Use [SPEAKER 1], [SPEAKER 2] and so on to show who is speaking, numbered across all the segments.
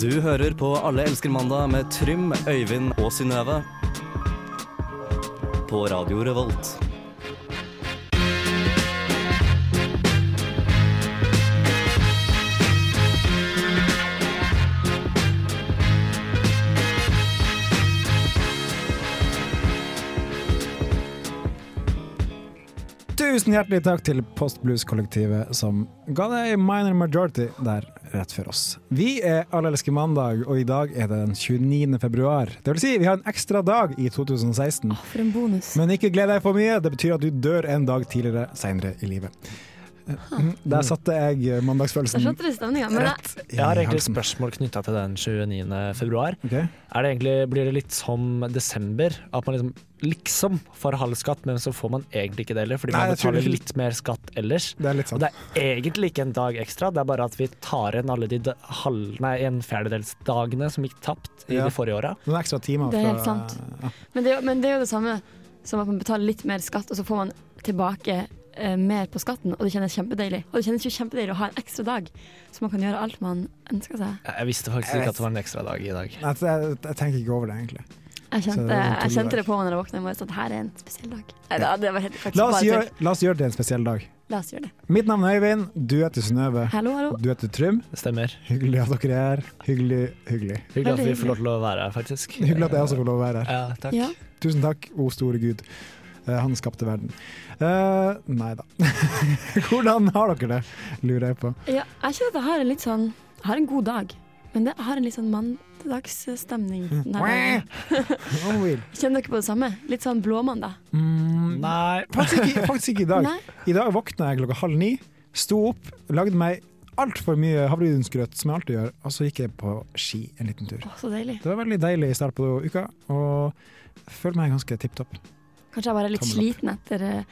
[SPEAKER 1] Du hører på Alle elsker mandag med Trym, Øyvind og Synnøve. På Radio Revolt.
[SPEAKER 2] Tusen hjertelig takk til Post Blues-kollektivet som ga deg minor majority der rett før oss. Vi er Allelske mandag, og i dag er det den 29. februar. Det vil si, vi har en ekstra dag i 2016.
[SPEAKER 3] For en bonus.
[SPEAKER 2] Men ikke gled deg for mye, det betyr at du dør en dag tidligere seinere i livet. Der satte jeg
[SPEAKER 3] Det er
[SPEAKER 2] mandagsfølelsen
[SPEAKER 3] så trist stemning, men det,
[SPEAKER 2] rett i
[SPEAKER 4] Jeg har egentlig et
[SPEAKER 2] halsen.
[SPEAKER 4] spørsmål knytta til den 29. februar.
[SPEAKER 2] Ok.
[SPEAKER 4] Er det egentlig, blir det litt som desember? At man liksom, liksom får halv skatt, men så får man egentlig ikke det heller, fordi
[SPEAKER 2] Nei,
[SPEAKER 4] man
[SPEAKER 2] jeg tror
[SPEAKER 4] betaler
[SPEAKER 2] det-
[SPEAKER 4] litt mer skatt ellers.
[SPEAKER 2] Det er litt
[SPEAKER 4] Og
[SPEAKER 2] sånn.
[SPEAKER 4] det er egentlig ikke en dag ekstra, det er bare at vi tar igjen alle de da- halv, nei, en fjerdedelsdagene som gikk tapt i
[SPEAKER 2] Ja.
[SPEAKER 4] de forrige åra.
[SPEAKER 2] Noen ekstra timer
[SPEAKER 3] Det er helt
[SPEAKER 2] fra-
[SPEAKER 3] sant.
[SPEAKER 2] Ja.
[SPEAKER 3] men, det, er jo- men det er jo det samme som at man betaler litt mer skatt, og så får man tilbake eh, mer på skatten, og det kjennes kjempedeilig. Og det kjennes jo kjempedeilig å ha en ekstra dag, så man kan gjøre alt man ønsker seg.
[SPEAKER 4] Jeg visste faktisk
[SPEAKER 2] Jeg vet.
[SPEAKER 4] ikke at det var en ekstra dag i dag.
[SPEAKER 2] Nei, Jeg, jeg tenker ikke over det, egentlig. Så
[SPEAKER 3] Jeg
[SPEAKER 2] det er
[SPEAKER 3] kjente,
[SPEAKER 2] sånn en tull
[SPEAKER 3] jeg
[SPEAKER 2] dag.
[SPEAKER 3] kjente det på meg når jeg våkna i morges, at her er en spesiell dag. Nei, da, det var helt, faktisk
[SPEAKER 2] La oss,
[SPEAKER 3] bare
[SPEAKER 2] gjøre,
[SPEAKER 3] tull.
[SPEAKER 2] la oss gjøre det en spesiell dag.
[SPEAKER 3] La oss gjøre det.
[SPEAKER 2] Mitt navn er Øyvind, du heter Synnøve,
[SPEAKER 3] Hallo, hallo.
[SPEAKER 2] du heter Trym.
[SPEAKER 4] Det stemmer.
[SPEAKER 2] Hyggelig at dere er her. Hyggelig, hyggelig.
[SPEAKER 4] Hyggelig at
[SPEAKER 3] Veldig
[SPEAKER 4] vi får lov til å være her, faktisk.
[SPEAKER 2] Hyggelig at jeg også får lov å være her.
[SPEAKER 4] Ja, takk.
[SPEAKER 3] Ja.
[SPEAKER 2] Tusen takk, o store Gud. Eh, Han skapte verden. Eh, nei da. Hvordan har dere det, lurer jeg på.
[SPEAKER 3] Ja, jeg kjenner at jeg har en litt sånn Jeg har en god dag, men det, jeg har en litt sånn mandagsstemning.
[SPEAKER 2] Mm.
[SPEAKER 3] denne dagen.
[SPEAKER 2] Oh, Will.
[SPEAKER 3] Kjenner dere på det samme? Litt sånn blåmandag.
[SPEAKER 2] Mm,
[SPEAKER 4] Nei.
[SPEAKER 2] faktisk, ikke, faktisk ikke i dag.
[SPEAKER 3] Nei?
[SPEAKER 2] I dag våkna jeg klokka halv ni, sto opp, lagde meg altfor mye havregrynsgrøt, som jeg alltid gjør, og så gikk jeg på ski en liten tur.
[SPEAKER 3] Å, så deilig.
[SPEAKER 2] Det var veldig deilig start på uka, og jeg føler meg ganske tipp topp.
[SPEAKER 3] Kanskje jeg bare er litt
[SPEAKER 2] Tommel opp.
[SPEAKER 3] sliten etter, eh,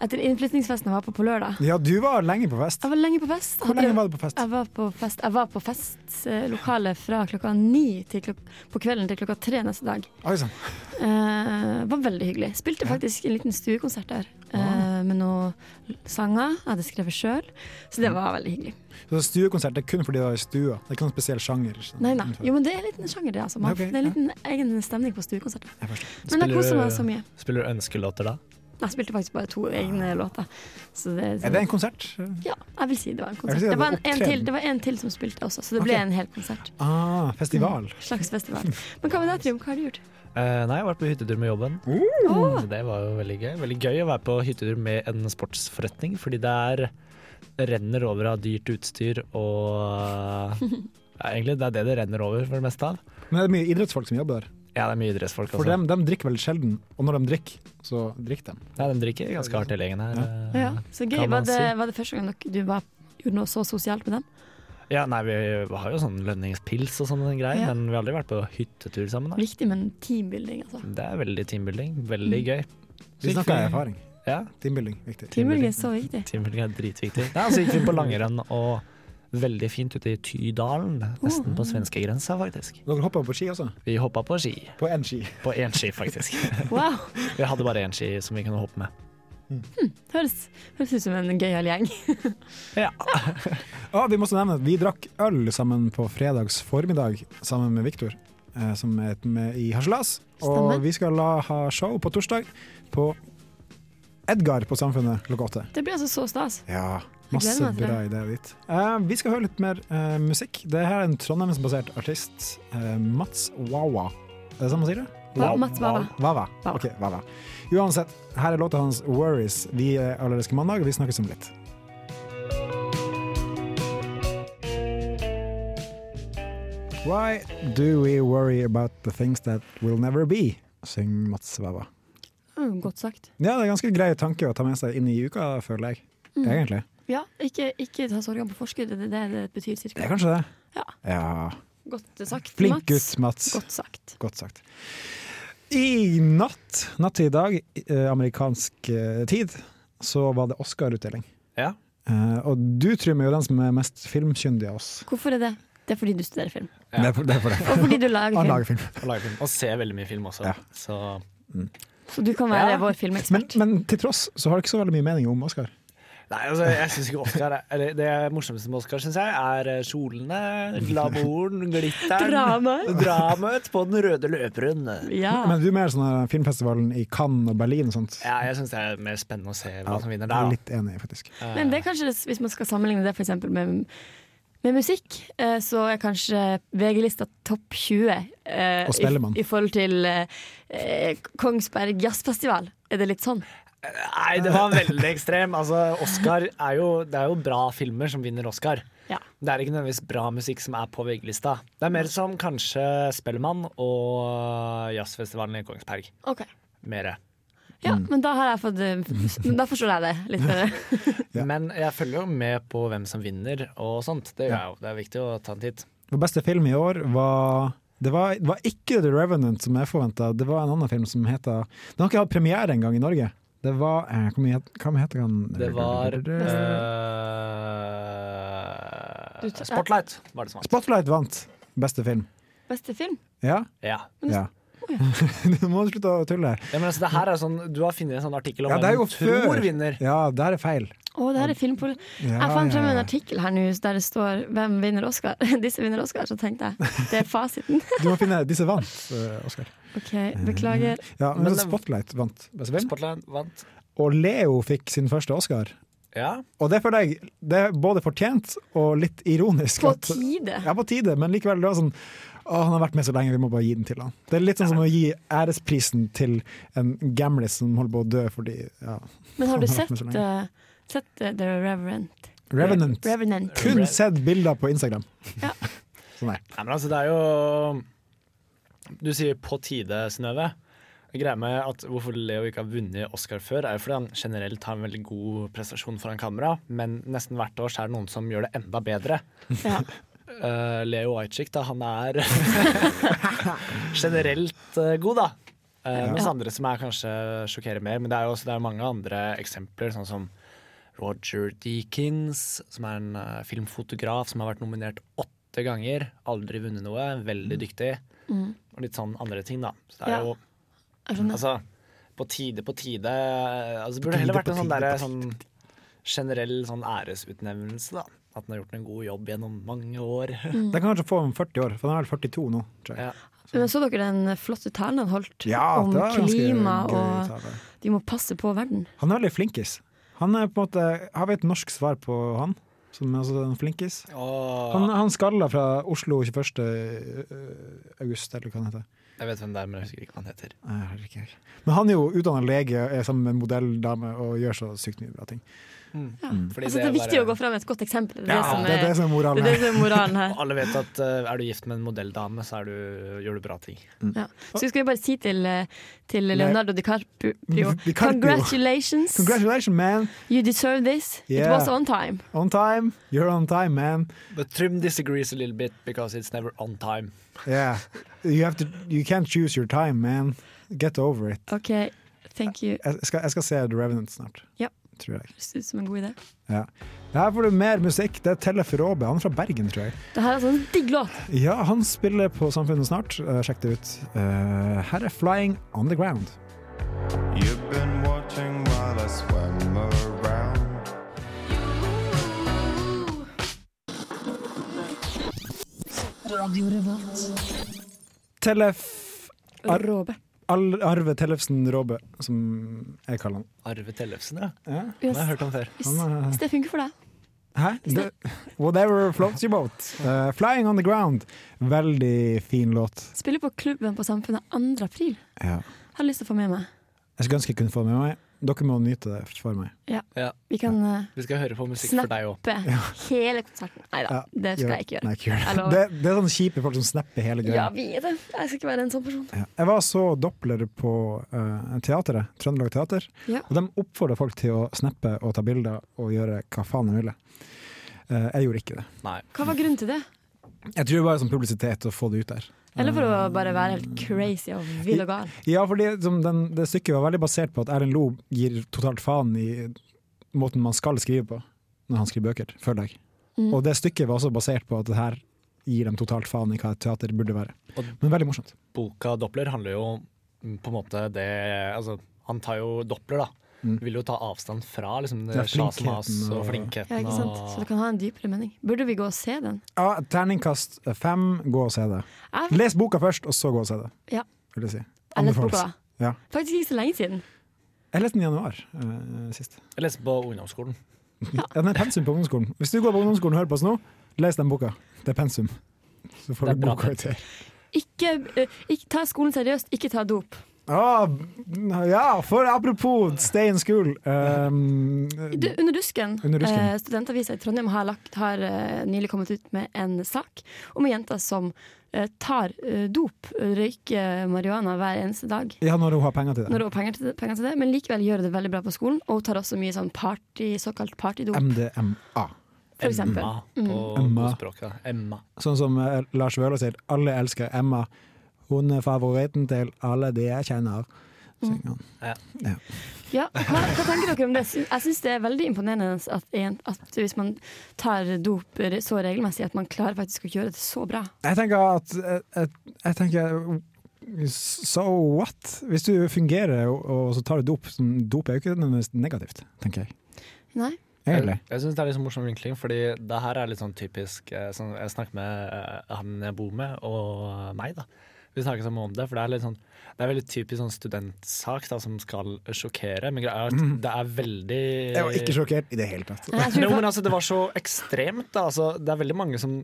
[SPEAKER 3] etter innflyttingsfesten jeg var på på lørdag.
[SPEAKER 2] Ja, du var lenge på fest.
[SPEAKER 3] Jeg var lenge på fest.
[SPEAKER 2] Hvor lenge var du på fest?
[SPEAKER 3] Jeg var på fest Jeg var på festlokalet fra klokka ni til klok på kvelden til klokka tre neste dag.
[SPEAKER 2] Oi sann.
[SPEAKER 3] Eh, var veldig hyggelig. Spilte
[SPEAKER 2] Ja.
[SPEAKER 3] faktisk en liten stuekonsert der eh, med noen sanger jeg hadde skrevet sjøl, så
[SPEAKER 2] Mm.
[SPEAKER 3] det var veldig hyggelig.
[SPEAKER 2] Så Stuekonsert det er kun fordi det var i stua, det er ikke noen spesiell sjanger? ikke sant?
[SPEAKER 3] Nei da. Jo, men det er en liten sjanger, det. Altså. Man,
[SPEAKER 2] Ok,
[SPEAKER 3] det er en
[SPEAKER 2] ja.
[SPEAKER 3] liten egen stemning på stuekonserter.
[SPEAKER 2] Jeg forstår.
[SPEAKER 3] Men jeg
[SPEAKER 4] Spiller
[SPEAKER 3] koser
[SPEAKER 4] du-
[SPEAKER 3] meg så mye.
[SPEAKER 4] Spiller du ønskelåter da?
[SPEAKER 3] Jeg spilte faktisk bare to egne låter. Så det,
[SPEAKER 2] Er det en konsert?
[SPEAKER 3] Ja, jeg vil si det var en
[SPEAKER 2] Jeg vil si
[SPEAKER 3] konsert.
[SPEAKER 2] det
[SPEAKER 3] det, var
[SPEAKER 2] var
[SPEAKER 3] en, en
[SPEAKER 2] opptreden.
[SPEAKER 3] til, det var en til som spilte også, så det ble
[SPEAKER 2] Ok.
[SPEAKER 3] en hel konsert.
[SPEAKER 2] Ah, festival.
[SPEAKER 3] Slags festival. Men hva med deg, Trym? Hva har du gjort?
[SPEAKER 4] Eh, nei, jeg har vært på hyttetur med jobben.
[SPEAKER 3] Åh,
[SPEAKER 4] Så det var jo veldig gøy. Veldig gøy å være på hyttetur med en sportsforretning, fordi det er renner over av dyrt utstyr og ja, Egentlig det er det det renner over for det meste av.
[SPEAKER 2] Men det er mye idrettsfolk som jobber der.
[SPEAKER 4] Ja, det er mye altså. idrettsfolk
[SPEAKER 2] For
[SPEAKER 4] også.
[SPEAKER 2] dem, dem drikker veldig sjelden, og når de drikker, så drikker de.
[SPEAKER 4] Ja, de drikker ganske hardt hele gjengen her. Eh,
[SPEAKER 3] ja, så gøy. Var
[SPEAKER 4] Kan man
[SPEAKER 3] det,
[SPEAKER 4] si.
[SPEAKER 3] var det første gang dere- du var, gjorde noe så sosialt med dem?
[SPEAKER 4] Ja, nei, vi har jo sånn lønningspils og sånne greier,
[SPEAKER 3] Ja.
[SPEAKER 4] men vi har aldri vært på hyttetur sammen. Da.
[SPEAKER 3] Viktig med en teambuilding, altså.
[SPEAKER 4] Det er veldig teambuilding. Veldig
[SPEAKER 3] Mm.
[SPEAKER 4] gøy. Så
[SPEAKER 2] Vi
[SPEAKER 4] gikk
[SPEAKER 2] snakker erfaring.
[SPEAKER 4] Ja,
[SPEAKER 2] Teambuilding, viktig.
[SPEAKER 3] Teambuilding er så viktig.
[SPEAKER 4] teambuilding er dritviktig. Nei, så gikk vi på langrenn og veldig fint ute i Tydalen,
[SPEAKER 3] Oh.
[SPEAKER 4] nesten på svenskegrensa faktisk.
[SPEAKER 2] Dere hopper på ski også?
[SPEAKER 4] Vi hoppa på ski.
[SPEAKER 2] På én ski.
[SPEAKER 4] På én ski, faktisk.
[SPEAKER 3] Wow!
[SPEAKER 4] Vi hadde bare én ski som vi kunne hoppe med.
[SPEAKER 3] Høres, høres ut som en gøyal gjeng.
[SPEAKER 4] Ja.
[SPEAKER 2] Ah, vi må også nevne at vi drakk øl sammen på fredags formiddag sammen med Viktor, eh, som er med i Harselas. Og
[SPEAKER 3] Stemmer.
[SPEAKER 2] vi skal la ha show på torsdag på Edgar på Samfunnet klokka åtte.
[SPEAKER 3] Det blir altså så stas.
[SPEAKER 2] Ja,
[SPEAKER 3] Jeg gleder
[SPEAKER 2] masse
[SPEAKER 3] meg til det.
[SPEAKER 2] bra ideer dit. Eh, vi skal høre litt mer eh, musikk. Det her er en trondheimsbasert artist, eh, Mats Wawa. Er det sånn man sier det?
[SPEAKER 3] Hva- Mats Wawa.
[SPEAKER 2] Wawa.
[SPEAKER 3] Wawa.
[SPEAKER 2] Ok, Wawa. Uansett, her er låta hans 'Worries'. Vi er Allerske mandag, og vi snakkes om litt. Why do we worry about the things that will never be? Syng Mats Wawa.
[SPEAKER 3] Mm, Godt sagt.
[SPEAKER 2] Ja, det er ganske grei tanke å ta med seg inn i uka, føler jeg.
[SPEAKER 3] Mm.
[SPEAKER 2] Egentlig.
[SPEAKER 3] Ja, ikke, ikke ta sorgene på forskudd, det er det det betyr
[SPEAKER 2] Det er
[SPEAKER 3] cirka.
[SPEAKER 2] kanskje det.
[SPEAKER 3] Ja. Godt sagt,
[SPEAKER 2] Flink
[SPEAKER 3] Mats.
[SPEAKER 2] gutt, Mats. Godt.
[SPEAKER 3] Godt sagt.
[SPEAKER 2] sagt. I natt, natt til i dag, eh, amerikansk eh, tid, så var det Oscar-utdeling.
[SPEAKER 4] Ja.
[SPEAKER 2] Eh, og du, Trym, er jo den som er mest filmkyndig av oss.
[SPEAKER 3] Hvorfor er det? Det er fordi du studerer film.
[SPEAKER 2] Det er for, det er for det.
[SPEAKER 3] Og fordi du lager
[SPEAKER 2] Han
[SPEAKER 3] film.
[SPEAKER 2] lager film.
[SPEAKER 4] Og, lager film. og ser veldig mye film også.
[SPEAKER 2] Ja.
[SPEAKER 4] Så
[SPEAKER 3] Så du kan være
[SPEAKER 4] Ja.
[SPEAKER 3] vår
[SPEAKER 2] Men,
[SPEAKER 3] filmekspert.
[SPEAKER 2] men til tross så har du ikke så veldig mye mening om Oscar.
[SPEAKER 4] Nei, altså, jeg synes ikke Oscar er, eller, Det morsomste med Oscar, syns jeg, er eh, kjolene, glamouren, glitteren.
[SPEAKER 3] Dramaet.
[SPEAKER 4] Dramaet på den røde løperen.
[SPEAKER 3] Ja.
[SPEAKER 2] Men du er mer sånn her filmfestivalen i Cannes og Berlin og sånt.
[SPEAKER 4] Ja, jeg syns det er mer spennende å se hva som vinner
[SPEAKER 2] jeg er
[SPEAKER 4] der.
[SPEAKER 2] litt enig, faktisk.
[SPEAKER 4] Da. Eh,
[SPEAKER 3] Men det er kanskje, det- hvis man skal sammenligne det for eksempel med, med musikk, eh, så er kanskje VG-lista topp 20 eh,
[SPEAKER 2] Og Spellemann.
[SPEAKER 3] i, i forhold til eh, eh, Kongsberg Jazzfestival. Er det litt sånn?
[SPEAKER 4] Nei, det var veldig ekstrem. Altså, Oscar er jo, det er jo bra filmer som vinner Oscar.
[SPEAKER 3] Ja.
[SPEAKER 4] Det er ikke nødvendigvis bra musikk som er på VG-lista. Det er mer som kanskje Spellemann og jazzfestivalen i Kongsberg.
[SPEAKER 3] Ok.
[SPEAKER 4] Mere.
[SPEAKER 3] Ja,
[SPEAKER 2] Mm.
[SPEAKER 3] men da har jeg fått eh, men Da forstår jeg det litt bedre.
[SPEAKER 2] Ja.
[SPEAKER 4] Men jeg følger jo med på hvem som vinner og sånt. Det gjør jeg jo. Det er viktig å ta en titt.
[SPEAKER 2] Vår beste film i år var det var, det var ikke The Revenant, som jeg forventa. Det var en annen film som heter Den har ikke hatt premiere engang i Norge. Det var eh, Hva mye het- hva heter den?
[SPEAKER 4] Det var eh,
[SPEAKER 3] Du
[SPEAKER 4] eh,
[SPEAKER 3] tar-
[SPEAKER 4] Spotlight var det som var.
[SPEAKER 2] Spotlight vant beste film.
[SPEAKER 3] Beste film?
[SPEAKER 2] Ja?
[SPEAKER 4] Ja.
[SPEAKER 2] ja. Nå må du slutte å tulle.
[SPEAKER 4] ja, men altså, det her er sånn Du har funnet en sånn artikkel om
[SPEAKER 2] Ja, det er
[SPEAKER 4] hvem
[SPEAKER 2] jo
[SPEAKER 4] du tror
[SPEAKER 2] før.
[SPEAKER 4] vinner.
[SPEAKER 2] Ja, det her er feil.
[SPEAKER 3] Å, det her er filmpol...
[SPEAKER 2] Ja,
[SPEAKER 3] jeg fant frem
[SPEAKER 2] ja,
[SPEAKER 3] en
[SPEAKER 2] ja.
[SPEAKER 3] artikkel her nå der det står 'Hvem vinner Oscar?' Disse vinner Oscar, så tenkte jeg det er fasiten.
[SPEAKER 2] Du må finne Disse vant, eh, Oscar.
[SPEAKER 3] OK, beklager.
[SPEAKER 2] Ja, men
[SPEAKER 4] Men-
[SPEAKER 2] Spotlight vant beste film.
[SPEAKER 4] Spotlight vant.
[SPEAKER 2] Og Leo fikk sin første Oscar.
[SPEAKER 4] Ja.
[SPEAKER 2] Og det føler jeg det er både fortjent og litt ironisk.
[SPEAKER 3] På
[SPEAKER 2] at-
[SPEAKER 3] tide!
[SPEAKER 2] Ja, på tide, men likevel. Det var sånn Å, han har vært med så lenge, vi må bare gi den til han. Det er litt sånn som å gi æresprisen til en gamlis som holder på å dø fordi ja.
[SPEAKER 3] Men har du
[SPEAKER 2] Han har vært med
[SPEAKER 3] sett,
[SPEAKER 2] så lenge.
[SPEAKER 3] eh, sett eh, The Reverend?
[SPEAKER 2] Revenant.
[SPEAKER 3] Revenant.
[SPEAKER 2] Kun sett bilder på Instagram. Sånn
[SPEAKER 3] Ja.
[SPEAKER 2] Så nei.
[SPEAKER 4] Nei, men altså, det er jo Du sier 'på tide', Synnøve. Greia med at hvorfor Leo ikke har vunnet Oscar før, er jo fordi han generelt har en veldig god prestasjon foran kamera, men nesten hvert år så er det noen som gjør det enda bedre.
[SPEAKER 3] Ja.
[SPEAKER 4] Eh, Leo Ajcik, da, han er generelt eh, god, da. Eh, Mens andre som er kanskje sjokkerer mer, men det er jo også det er mange andre eksempler, sånn som Roger Deakins, som er en eh, filmfotograf som har vært nominert åtte ganger. Aldri vunnet noe.
[SPEAKER 2] Mm.
[SPEAKER 4] Veldig dyktig. Og litt sånn andre ting, da. Så det er
[SPEAKER 3] Mm. Ja,
[SPEAKER 4] jo
[SPEAKER 3] jeg skjønner.
[SPEAKER 4] altså på tide, på tide eh, altså, Det burde
[SPEAKER 2] tide,
[SPEAKER 4] heller vært
[SPEAKER 2] på
[SPEAKER 4] en sånn,
[SPEAKER 2] tide,
[SPEAKER 4] derre
[SPEAKER 2] på
[SPEAKER 4] sånn generell sånn æresutnevnelse, da. At han har gjort en god jobb gjennom mange år.
[SPEAKER 3] Mm.
[SPEAKER 2] Den kan kanskje få om 40 år, for han er vel 42 nå, tror jeg.
[SPEAKER 4] Ja.
[SPEAKER 3] Men så dere den flotte talen han holdt
[SPEAKER 2] Ja,
[SPEAKER 3] om
[SPEAKER 2] det var ganske
[SPEAKER 3] klima
[SPEAKER 2] gøy
[SPEAKER 3] og
[SPEAKER 2] tale.
[SPEAKER 3] de må passe på verden?
[SPEAKER 2] Han er veldig flinkis. Han er på en måte Har vi et norsk svar på han? Som er altså en flinkis?
[SPEAKER 4] Og
[SPEAKER 2] Han, han skalla fra Oslo 21. august, eller hva han heter.
[SPEAKER 4] jeg vet hvem det er, men jeg husker ikke hva han heter.
[SPEAKER 2] Nei, jeg har ikke hørt. Men han er jo utdanna lege, er sammen med en modelldame og gjør så sykt mye bra ting.
[SPEAKER 3] Ja.
[SPEAKER 4] Fordi
[SPEAKER 3] Altså, det er
[SPEAKER 4] det er
[SPEAKER 3] viktig
[SPEAKER 4] bare-
[SPEAKER 3] å gå fram med et godt eksempel. Det er
[SPEAKER 2] Ja,
[SPEAKER 3] det som
[SPEAKER 2] det er det
[SPEAKER 3] er,
[SPEAKER 2] som er
[SPEAKER 3] det
[SPEAKER 2] moralen
[SPEAKER 3] er, det
[SPEAKER 2] her.
[SPEAKER 3] som er moralen her.
[SPEAKER 4] Og alle vet at eh, er du gift med en modelldame, så er du, gjør du bra ting.
[SPEAKER 3] Ja. Så skal vi bare si til, eh, til Leonardo DiCaprio,
[SPEAKER 2] DiCaprio.
[SPEAKER 3] Congratulations!
[SPEAKER 2] Congratulations, man!
[SPEAKER 3] You deserve this. It
[SPEAKER 2] Yeah.
[SPEAKER 3] was on time.
[SPEAKER 2] On time! You're on time, man!
[SPEAKER 4] But Trym disagrees a little bit because it's never on time.
[SPEAKER 2] Yeah. You, have to, you can't choose your time, man. Get over it.
[SPEAKER 3] OK, thank you.
[SPEAKER 2] Jeg skal, jeg skal se The Revenant snart.
[SPEAKER 3] Ja.
[SPEAKER 2] Tror jeg.
[SPEAKER 3] Høres ut som en god idé.
[SPEAKER 2] Ja. Her får du mer musikk. Det er Tellef Råbe. Han er fra Bergen, tror jeg.
[SPEAKER 3] Det her er sånn digg låt.
[SPEAKER 2] Ja, han spiller på Samfunnet snart. Eh, Sjekk det ut. Eh, her er Flying On The Ground.
[SPEAKER 5] You've been watching while I swam around.
[SPEAKER 2] Tellef Ar-
[SPEAKER 3] Råbe.
[SPEAKER 2] Al Arve Tellefsen Råbe, som jeg kaller han.
[SPEAKER 4] Arve Tellefsen, ja.
[SPEAKER 2] Ja.
[SPEAKER 4] Den
[SPEAKER 3] Yes.
[SPEAKER 4] har jeg hørt om før.
[SPEAKER 2] Han er-
[SPEAKER 3] Hvis det funker for deg.
[SPEAKER 2] Hæ? Det, whatever floats your boat. Eh, flying on the ground. Veldig fin låt.
[SPEAKER 3] Spiller på Klubben på Samfunnet 2. april. Har lyst til å få med meg.
[SPEAKER 2] Jeg skulle ønske jeg kunne få det med meg. Dere må nyte det for meg.
[SPEAKER 4] Ja,
[SPEAKER 3] Vi kan eh,
[SPEAKER 4] vi skal høre på musikk
[SPEAKER 3] Snap.
[SPEAKER 4] for deg òg.
[SPEAKER 3] oppe hele konserten. Nei da,
[SPEAKER 2] Ja,
[SPEAKER 3] det skal jeg ikke gjøre.
[SPEAKER 2] Nei, ikke gjør
[SPEAKER 3] Jeg
[SPEAKER 2] det.
[SPEAKER 3] lover.
[SPEAKER 2] Det, det er sånne kjipe folk som snapper hele
[SPEAKER 3] Ja,
[SPEAKER 2] greia.
[SPEAKER 3] vi er det. Jeg skal ikke være en sånn person.
[SPEAKER 2] Ja. Jeg var så Doppler på eh, teateret, Trøndelag Teater,
[SPEAKER 3] Ja.
[SPEAKER 2] og de oppfordra folk til å snappe og ta bilder og gjøre hva faen de ville. Eh, jeg gjorde ikke det.
[SPEAKER 4] Nei.
[SPEAKER 3] Hva var grunnen til det?
[SPEAKER 2] Jeg tror det var sånn publisitet å få det ut der.
[SPEAKER 3] Eller for å bare være helt crazy og vill og gal?
[SPEAKER 2] Ja, fordi som den, det stykket var veldig basert på at Erlend Loe gir totalt faen i måten man skal skrive på når han skriver bøker, føler jeg.
[SPEAKER 3] Mm.
[SPEAKER 2] Og det stykket var også basert på at det her gir dem totalt faen i hva et teater burde være.
[SPEAKER 4] Og-
[SPEAKER 2] Men veldig morsomt.
[SPEAKER 4] Boka Doppler handler jo om mm, på en måte det Altså, han tar jo Doppler, da. Du vil jo ta avstand fra liksom, det
[SPEAKER 2] Ja,
[SPEAKER 4] sjaset med oss
[SPEAKER 2] flinkheten
[SPEAKER 4] og
[SPEAKER 2] og-
[SPEAKER 3] Ja,
[SPEAKER 4] flinkheten.
[SPEAKER 3] ikke sant? Så det
[SPEAKER 4] og,
[SPEAKER 3] kan ha en dypere mening. Burde vi gå og se den?
[SPEAKER 2] Ja, terningkast fem, gå og se det.
[SPEAKER 3] Jeg,
[SPEAKER 2] Les boka først, og så gå og se det.
[SPEAKER 3] Ja.
[SPEAKER 2] Vil jeg si.
[SPEAKER 3] jeg leste
[SPEAKER 2] Anbefales.
[SPEAKER 3] boka
[SPEAKER 2] Ja.
[SPEAKER 3] faktisk ikke så lenge siden.
[SPEAKER 2] Jeg leste den i januar eh, sist.
[SPEAKER 4] jeg leste på ungdomsskolen.
[SPEAKER 2] Ja, den er pensum på ungdomsskolen. Hvis du går på ungdomsskolen og hører på oss nå, les den boka. Det er pensum. Så får
[SPEAKER 4] Det er
[SPEAKER 2] du
[SPEAKER 4] bra
[SPEAKER 2] god karakter.
[SPEAKER 3] Ikke, eh, ikke ta skolen seriøst, ikke ta dop.
[SPEAKER 2] Ah, ja, for apropos stay in school. Um,
[SPEAKER 3] Du, under Dusken,
[SPEAKER 2] Under Dusken.
[SPEAKER 3] Eh, studentavisa i Trondheim har, lagt, har eh, nylig kommet ut med en sak om ei jente som eh, tar eh, dop, røyker marihuana hver eneste dag.
[SPEAKER 2] ja, når hun har penger til det.
[SPEAKER 3] Når hun har penger til, det, penger til det, men likevel gjør hun det veldig bra på skolen. Og hun tar også mye sånn party, såkalt partydop,
[SPEAKER 2] MDMA.
[SPEAKER 3] for eksempel.
[SPEAKER 4] Emma på
[SPEAKER 2] Emma.
[SPEAKER 4] språket. da. Emma.
[SPEAKER 2] Sånn som eh, Lars Vøhler sier, alle elsker Emma. Hun er favoritten til alle de jeg kjenner. synger han.
[SPEAKER 3] Ja, og hva, hva tenker dere om det? Sy- Jeg syns det er veldig imponerende at, en, at hvis man tar dop re- så regelmessig, at man klarer faktisk å gjøre det så bra.
[SPEAKER 2] Jeg tenker at jeg, jeg tenker, So what? Hvis du fungerer og, og så tar du dop, sånn, dop er jo ikke nødvendigvis negativt, tenker jeg.
[SPEAKER 3] Nei?
[SPEAKER 2] Egentlig.
[SPEAKER 4] Jeg, jeg syns det er litt sånn morsom vinkling, fordi det her er litt sånn typisk eh, sånn, Jeg snakker med eh, han jeg bor med, og eh, meg, da. Vi snakker sammen om det, for det er litt sånn Det er veldig typisk sånn studentsak da, som skal sjokkere, men greia er at det er veldig
[SPEAKER 2] Mm. Jeg var ikke sjokkert i det hele tatt.
[SPEAKER 3] Nei, jeg
[SPEAKER 4] Jo,
[SPEAKER 3] tror
[SPEAKER 4] men altså, det var så ekstremt, da. Altså, det er veldig mange som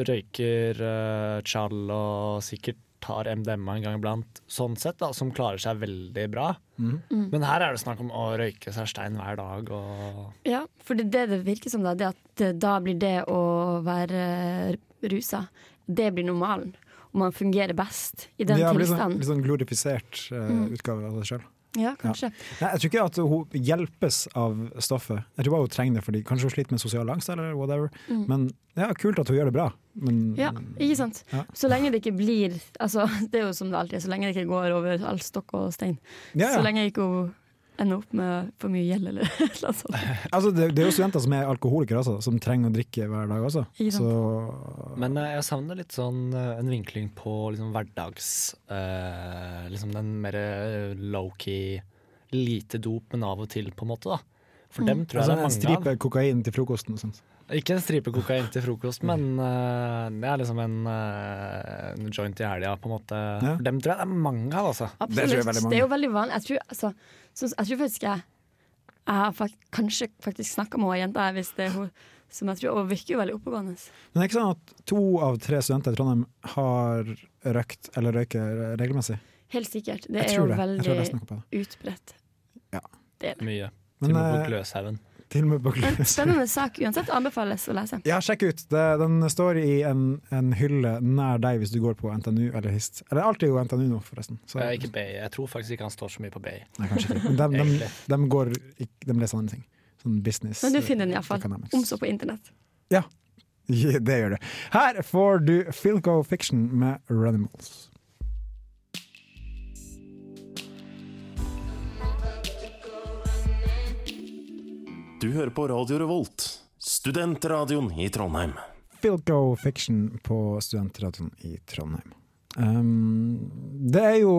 [SPEAKER 4] røyker eh, chall og sikkert tar MDMA en gang iblant, sånn sett, da, som klarer seg veldig bra.
[SPEAKER 2] Mm.
[SPEAKER 3] Mm.
[SPEAKER 4] Men her er det snakk om å røyke seg stein hver dag og
[SPEAKER 3] Ja, for det, det det virker som, da, det at det- da blir det å være rusa, det blir normalen. Og man fungerer best i den
[SPEAKER 2] Det har blitt sånn,
[SPEAKER 3] tilstanden. Mm.
[SPEAKER 2] litt sånn glorifisert eh, utgave av det sjøl.
[SPEAKER 3] Ja, kanskje.
[SPEAKER 2] Nei, Jeg tror ikke at hun hjelpes av stoffet. Jeg tror bare hun trenger det fordi kanskje hun sliter med sosial angst eller whatever. Men ja, kult at hun gjør det bra. Men
[SPEAKER 3] Mm. Ja, ikke sant.
[SPEAKER 2] Ja.
[SPEAKER 3] Så lenge det ikke blir altså, Det er jo som det alltid er, så lenge det ikke går over all stokk og stein.
[SPEAKER 2] Ja, ja.
[SPEAKER 3] Så lenge ikke hun ender opp med for mye gjeld eller et eller annet sånt.
[SPEAKER 2] altså, det, det er jo studenter som er alkoholikere, altså, som trenger å drikke hver dag også.
[SPEAKER 3] Ikke sant.
[SPEAKER 2] Så
[SPEAKER 4] Men eh, jeg savner litt sånn eh, en vinkling på liksom hverdags eh, Liksom den mer eh, low-key, lite dop, men av og til, på en måte, da. For dem tror
[SPEAKER 2] altså, en
[SPEAKER 4] jeg det er mange av.
[SPEAKER 2] stripe kokain til frokosten og sånt.
[SPEAKER 4] Ikke en stripe kokain til frokost, men eh, det er liksom en, eh, en joint i helga, på en måte.
[SPEAKER 2] Ja.
[SPEAKER 4] For dem tror jeg det er mange av, altså.
[SPEAKER 2] Det tror jeg
[SPEAKER 3] Absolutt.
[SPEAKER 2] veldig
[SPEAKER 3] Det,
[SPEAKER 2] mange.
[SPEAKER 3] er jo veldig vanlig. Jeg tror, altså, så, jeg tror faktisk jeg jeg har fakt, kanskje faktisk snakka med hun jenta her, hvis det er hun som jeg tror Og hun virker jo veldig oppegående.
[SPEAKER 2] Men det er ikke sånn at to av tre studenter i Trondheim har røykt eller røyker regelmessig?
[SPEAKER 3] Helt sikkert. Det
[SPEAKER 2] Jeg
[SPEAKER 3] er jo
[SPEAKER 2] tror det. Jeg tror jeg leste
[SPEAKER 3] veldig
[SPEAKER 2] noe på det.
[SPEAKER 3] utbredt.
[SPEAKER 2] Ja.
[SPEAKER 3] Det er det.
[SPEAKER 4] Mye.
[SPEAKER 2] Men,
[SPEAKER 4] Til og med
[SPEAKER 2] eh,
[SPEAKER 4] på Gløshaugen.
[SPEAKER 2] Til og med på
[SPEAKER 3] Men
[SPEAKER 2] gløs.
[SPEAKER 3] spennende sak uansett. Anbefales å lese.
[SPEAKER 2] Ja, sjekk ut. Det, den står i en, en hylle nær deg hvis du går på NTNU eller HIST. Eller alt er jo NTNU nå, forresten. Så,
[SPEAKER 4] Eh, Ikke BI. Jeg tror faktisk ikke han står så mye på BI.
[SPEAKER 2] Nei, kanskje ikke. Men de, de, de, går, ikk- de leser andre ting. Sånn business.
[SPEAKER 3] Men du finner den iallfall.
[SPEAKER 2] economics.
[SPEAKER 3] Om så på internett.
[SPEAKER 2] Ja, Ja, det gjør du. Her får du Philco Fiction med Runimals.
[SPEAKER 6] Du hører på Radio Revolt, studentradioen i Trondheim.
[SPEAKER 2] Philco Fiction på Studentradioen i Trondheim. Um, det er jo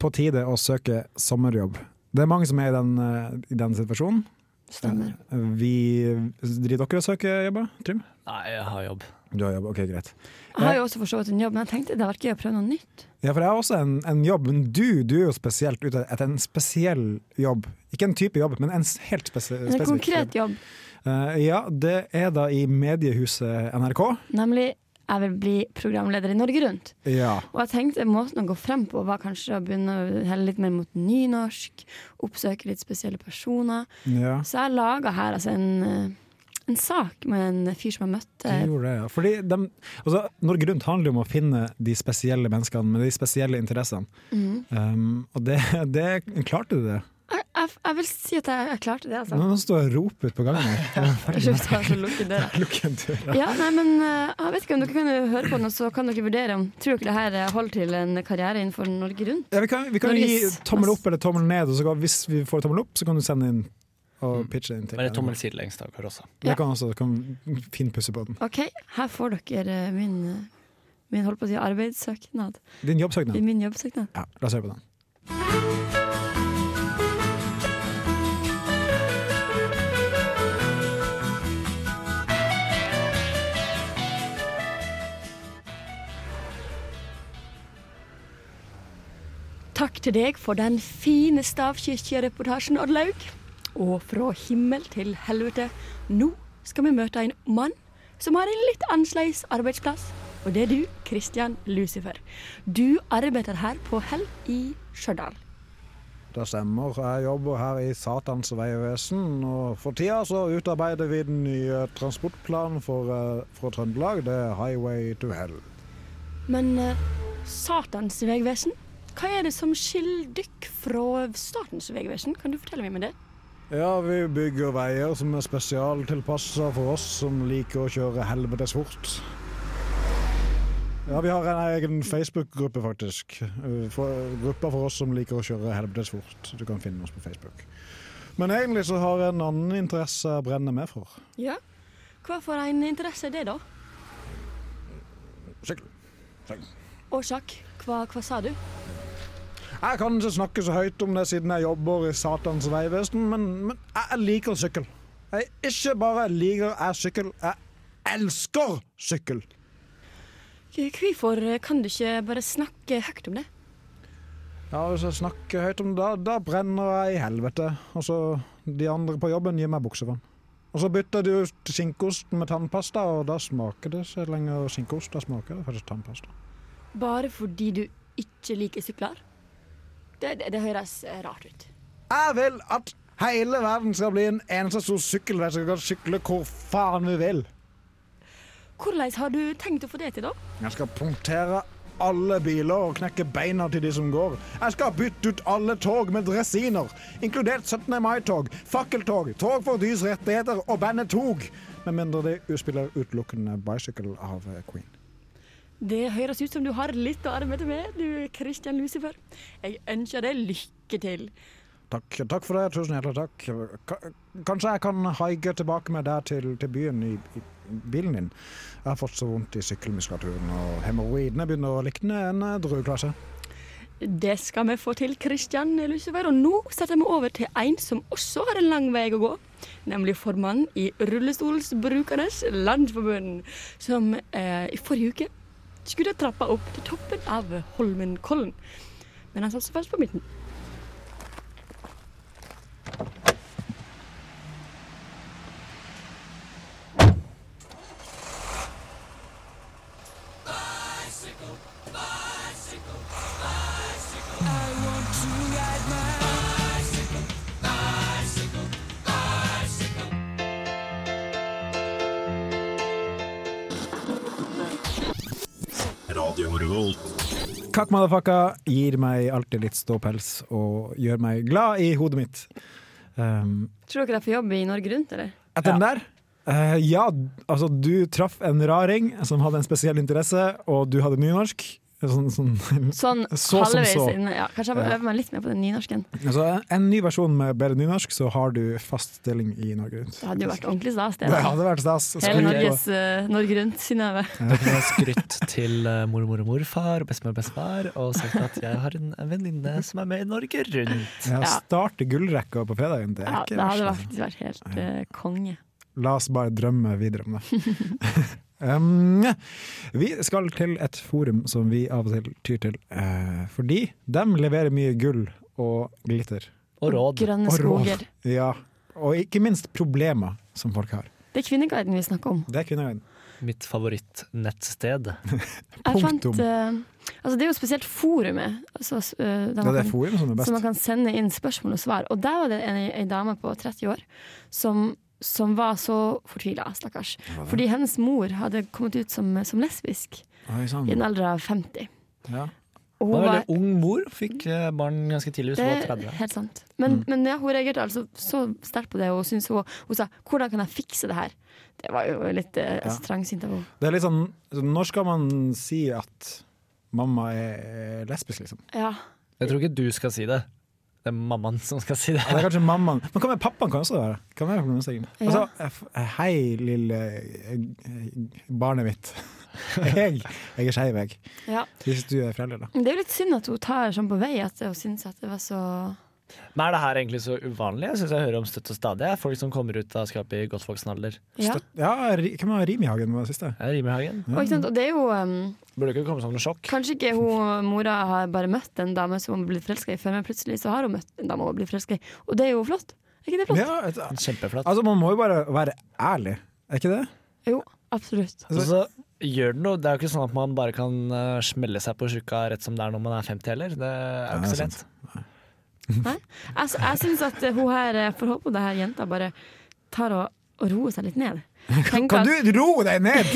[SPEAKER 2] på tide å søke sommerjobb. Det er mange som er i den, eh, i den situasjonen.
[SPEAKER 3] Stemmer.
[SPEAKER 2] Vi, driver dere og søker jobber, Trym?
[SPEAKER 4] Nei, jeg har jobb.
[SPEAKER 2] Du har jobb, ok, greit.
[SPEAKER 3] Jeg har jo også for så vidt en jobb, men jeg tenkte det hadde vært gøy å prøve noe nytt.
[SPEAKER 2] Ja, for jeg har også en, en jobb, men du, du er jo spesielt ute etter en spesiell jobb. Ikke en type jobb, men en s- helt spes
[SPEAKER 3] En
[SPEAKER 2] spesifikk
[SPEAKER 3] konkret jobb.
[SPEAKER 2] jobb. Eh, ja, det er da i mediehuset NRK.
[SPEAKER 3] Nemlig jeg vil bli programleder i Norge Rundt.
[SPEAKER 2] Ja.
[SPEAKER 3] Og jeg tenkte måten å gå frem på var kanskje å begynne å helle litt mer mot nynorsk. Oppsøke litt spesielle personer.
[SPEAKER 2] ja.
[SPEAKER 3] Så jeg laga her altså en, eh, en sak med en fyr som jeg møtte.
[SPEAKER 2] Du gjorde det, ja. Fordi dem- altså, Norge Rundt handler jo om å finne de spesielle menneskene med de spesielle interessene.
[SPEAKER 3] Mm.
[SPEAKER 2] Um, og det, det klarte du det.
[SPEAKER 3] Jeg, jeg, jeg vil si at jeg, jeg klarte det, altså.
[SPEAKER 2] Nå står jeg og roper på gangen her.
[SPEAKER 3] Ikke hvis jeg skal lukke døra.
[SPEAKER 2] Lukk en dør.
[SPEAKER 3] Ja, nei, men eh, jeg vet ikke om dere kan jo høre på den, og så kan dere vurdere om Tror dere det her eh, holder til en karriere innenfor Norge Rundt?
[SPEAKER 2] Ja, vi kan, vi kan
[SPEAKER 3] Norges
[SPEAKER 2] gi tommel
[SPEAKER 3] mest-
[SPEAKER 2] opp eller tommel ned, og så kan, hvis vi får tommel opp, så kan du sende inn og pitche det inn til.
[SPEAKER 4] Men det er tommel sidelengs da, Kåre, også.
[SPEAKER 2] Jeg kan også kan finpusse på den.
[SPEAKER 3] OK, her får dere eh, min, eh, min holdt på å si, arbeidssøknad.
[SPEAKER 2] Din jobbsøknad?
[SPEAKER 3] Min jobbsøknad.
[SPEAKER 2] Ja, la oss høre på den.
[SPEAKER 3] Takk til deg for den fine stavkirkereportasjen, Oddlaug. Og fra himmel til helvete, nå skal vi møte en mann som har en litt annerledes arbeidsplass. Og det er du, Christian Lucifer. Du arbeider her på Hell i Stjørdal.
[SPEAKER 7] Det stemmer. Jeg jobber her i Satans vegvesen. Og for tida så utarbeider vi den nye transportplanen for, eh, for Trøndelag. Det er Highway to Hell.
[SPEAKER 3] Men eh, Satans vegvesen, hva er det som skiller dykk fra Statens vegvesen? Kan du fortelle meg om det?
[SPEAKER 7] Ja, vi bygger veier som er spesialtilpassa for oss som liker å kjøre helvetes fort. Ja, vi har en egen Facebook-gruppe, faktisk. Eh, For, gruppa for oss som liker å kjøre helvetes fort. Du kan finne oss på Facebook. Men egentlig så har jeg en annen interesse jeg brenner mer for.
[SPEAKER 3] Ja. Hva for en interesse er det, da?
[SPEAKER 7] Sykkel.
[SPEAKER 3] Årsak? Hva, hva sa du?
[SPEAKER 7] Jeg kan ikke snakke så høyt om det siden jeg jobber i Satans vegvesen, men, men jeg liker sykkel. Jeg ikke bare liker jeg sykkel, jeg elsker sykkel.
[SPEAKER 3] Hvorfor kan du ikke bare snakke høyt om det?
[SPEAKER 7] Ja, Hvis jeg snakker høyt om det, da, da brenner jeg i helvete. Og så de andre på jobben gir meg buksevann. Og så bytter de ut skinkeosten med tannpasta, og da smaker det så lenge skinkeost. Da smaker det faktisk tannpasta.
[SPEAKER 3] Bare fordi du ikke liker sykler? Det, det, det høres eh, rart ut.
[SPEAKER 7] Jeg vil at hele verden skal bli en eneste stor sykkelvei som kan sykle hvor faen vi vil.
[SPEAKER 3] Hvordan har du tenkt å få det til, da?
[SPEAKER 7] Jeg skal punktere alle biler og knekke beina til de som går. Jeg skal bytte ut alle tog med dresiner, inkludert 17. mai-tog, fakkeltog, tog for dys rettigheter og bandet Tog. Med mindre de spiller utelukkende Bicycle av eh, Queen.
[SPEAKER 3] Det høres ut som du har litt å arbeide med, du Christian Lucifer. Jeg ønsker deg lykke til.
[SPEAKER 7] Takk, takk for det, tusen hjertelig takk. Ka- Kanskje jeg kan haige tilbake med deg til, til byen i, i bilen din. Jeg har fått så vondt i sykkelmuskulaturen, og hemoroidene begynner å likne en eh, drueklasse.
[SPEAKER 3] Det skal vi få til, Christian Lucifer. Og nå setter vi over til en som også har en lang vei å gå. Nemlig formannen i Rullestolsbrukernes Landsforbund, som eh, i forrige uke skulle trappa opp til toppen av Holmenkollen. Men han satser fast på midten.
[SPEAKER 6] Radio Revolt.
[SPEAKER 2] Kakk motherfucka gir meg alltid litt ståpels og gjør meg glad i hodet mitt. Um,
[SPEAKER 3] Tror dere de får jobb i Norge Rundt, eller?
[SPEAKER 2] etter den der eh, Ja, altså du traff en raring som hadde en spesiell interesse, og du hadde nynorsk. Sånn, sånn,
[SPEAKER 3] Sånn
[SPEAKER 2] Så som
[SPEAKER 3] halvveis
[SPEAKER 2] så.
[SPEAKER 3] inn. Ja, kanskje jeg må
[SPEAKER 2] Ja.
[SPEAKER 3] øve meg litt mer på den nynorsken.
[SPEAKER 2] altså, en ny versjon med bedre nynorsk, så har du fast stilling i Norge Rundt.
[SPEAKER 3] Det hadde jo vært ordentlig stas, det.
[SPEAKER 2] Det
[SPEAKER 3] da.
[SPEAKER 2] hadde vært stas.
[SPEAKER 3] Hele
[SPEAKER 2] Skryt på-
[SPEAKER 3] Norges eh, Norge Rundt, Synnøve.
[SPEAKER 4] Skrytt til eh, mormor og morfar og bestemor og bestefar og sagt at jeg har en venninne som er med i Norge Rundt.
[SPEAKER 2] Ja,
[SPEAKER 3] Ja.
[SPEAKER 2] starte gullrekka på fredagen, det er
[SPEAKER 3] Ja,
[SPEAKER 2] ikke
[SPEAKER 3] det hadde
[SPEAKER 2] verst, altså.
[SPEAKER 3] faktisk vært helt eh, konge.
[SPEAKER 2] La oss bare drømme videre om det. um, vi skal til et forum som vi av og til tyr til, eh, fordi de leverer mye gull og glitter.
[SPEAKER 4] Og råd.
[SPEAKER 3] Grønne
[SPEAKER 2] Og råd.
[SPEAKER 3] skoger.
[SPEAKER 2] Ja, og ikke minst problemer som folk har.
[SPEAKER 3] Det er Kvinneguiden vi snakker om.
[SPEAKER 2] Det er kvinneøyne.
[SPEAKER 4] Mitt favorittnettsted.
[SPEAKER 3] Jeg fant,
[SPEAKER 2] Punktum.
[SPEAKER 3] eh, altså det er jo spesielt forumet, altså, s- eh, der
[SPEAKER 2] Ja,
[SPEAKER 3] man
[SPEAKER 2] det er
[SPEAKER 3] kan,
[SPEAKER 2] forum som er
[SPEAKER 3] så
[SPEAKER 2] best.
[SPEAKER 3] man kan sende inn spørsmål og svar. Og der var det en, en dame på 30 år som, som var så fortvila, stakkars. Fordi hennes mor hadde kommet ut som, som lesbisk
[SPEAKER 2] Oi, sånn.
[SPEAKER 3] i en alder av 50.
[SPEAKER 2] Ja.
[SPEAKER 3] Og
[SPEAKER 4] Det
[SPEAKER 3] hun
[SPEAKER 4] var
[SPEAKER 3] var,
[SPEAKER 4] veldig ung mor, fikk eh, barn ganske tidlig,
[SPEAKER 3] det
[SPEAKER 4] så var
[SPEAKER 3] er
[SPEAKER 4] 30.
[SPEAKER 3] helt sant. Men,
[SPEAKER 2] Mm.
[SPEAKER 3] men ja, hun reagerte altså så sterkt på det, og hun, syntes hun, hun sa 'hvordan kan jeg fikse det her'? Det var jo litt eh, altså, trangsynt av henne.
[SPEAKER 2] Det er litt sånn, så når skal man si at mamma er lesbisk, liksom?
[SPEAKER 3] Ja.
[SPEAKER 4] Jeg tror ikke du skal si det. Det er mammaen som skal si det.
[SPEAKER 2] Ja, Det er kanskje mammaen. Men hva med pappaen kan også være? Kan være problemstillingen.
[SPEAKER 3] Ja.
[SPEAKER 2] Altså, eh, f- hei, lille eh, eh, barnet mitt. Jeg, jeg er skeiv, jeg.
[SPEAKER 3] ja.
[SPEAKER 2] Hvis du er forelder, da.
[SPEAKER 3] Det er jo litt synd at hun tar sånn på vei at hun syns at det var så
[SPEAKER 4] Men er det her egentlig så uvanlig? Jeg syns jeg hører om støtt og stadig. jeg. Folk som kommer ut av skapet i godt voksen alder.
[SPEAKER 3] Ja.
[SPEAKER 2] Ja, ri- hvem var Rimihagen var det siste?
[SPEAKER 4] Jeg rimer i hagen.
[SPEAKER 3] Og, ikke sant? og det er jo um,
[SPEAKER 4] Burde ikke komme som noe sjokk.
[SPEAKER 3] Kanskje ikke hun mora har bare møtt en dame som hun har blitt forelska i før, men plutselig så har hun møtt en dame hun har blitt forelska i, og det er jo flott. Er ikke det flott?
[SPEAKER 2] Ja, et,
[SPEAKER 4] Kjempeflatt.
[SPEAKER 2] altså, man må jo bare være ærlig, er ikke det?
[SPEAKER 3] Jo, absolutt.
[SPEAKER 4] Og så gjør det noe. Det er jo ikke sånn at man bare kan eh, smelle seg på tjukka rett som det er når man er 50 heller. Det er jo
[SPEAKER 2] Nei,
[SPEAKER 4] ikke
[SPEAKER 2] det er
[SPEAKER 4] så lett.
[SPEAKER 3] Nei? Jeg, jeg syns at hun her, eh, får håpe det her jenta bare tar og, og roer seg litt ned. Tenker
[SPEAKER 2] Kan
[SPEAKER 3] at-
[SPEAKER 2] du ro deg ned?!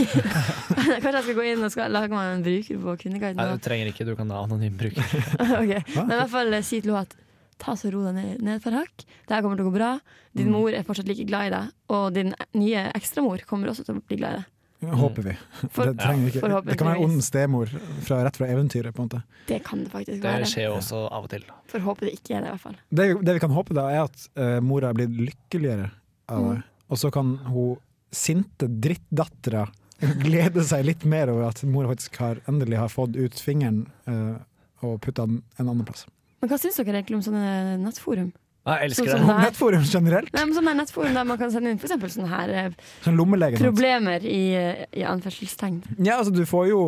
[SPEAKER 3] Kanskje jeg skal gå inn og skal lage meg en bruker på Kvinneguiden.
[SPEAKER 4] Nei,
[SPEAKER 3] og-
[SPEAKER 4] du trenger ikke, du kan ha anonym bruker.
[SPEAKER 3] Ok, Men i hvert fall eh, si til henne at ta så ro deg ned, ned for hakk. Det her kommer til å gå bra.
[SPEAKER 4] Mm.
[SPEAKER 3] Din mor er fortsatt like glad i deg, og din nye ekstramor kommer også til å bli glad i deg.
[SPEAKER 2] Håper vi.
[SPEAKER 3] For-
[SPEAKER 2] det, trenger vi ikke.
[SPEAKER 3] forhåpentligvis.
[SPEAKER 2] det kan være ond stemor fra, rett fra eventyret. på en måte
[SPEAKER 3] Det kan det faktisk
[SPEAKER 4] Det
[SPEAKER 3] være.
[SPEAKER 4] skjer jo også av og til.
[SPEAKER 3] Får håpe det ikke er det, i hvert fall.
[SPEAKER 2] Det, vi- det vi kan håpe, da, er at eh, mora er blitt lykkeligere av det. Og så kan hun sinte drittdattera glede seg litt mer over at mora faktisk har, endelig har fått ut fingeren eh, og putta den en annen plass.
[SPEAKER 3] Men hva syns dere egentlig om sånne nettforum?
[SPEAKER 4] Nei, Jeg elsker
[SPEAKER 3] Sånn
[SPEAKER 4] det.
[SPEAKER 3] som-
[SPEAKER 2] Om
[SPEAKER 3] Nei.
[SPEAKER 2] nettforum generelt,
[SPEAKER 3] Nei, men sånne nettforum der man kan sende inn for eksempel sånne her eh,
[SPEAKER 2] sånn lommelege og sånt.
[SPEAKER 3] problemer i, eh, i anførselstegn.
[SPEAKER 2] Ja, altså du får jo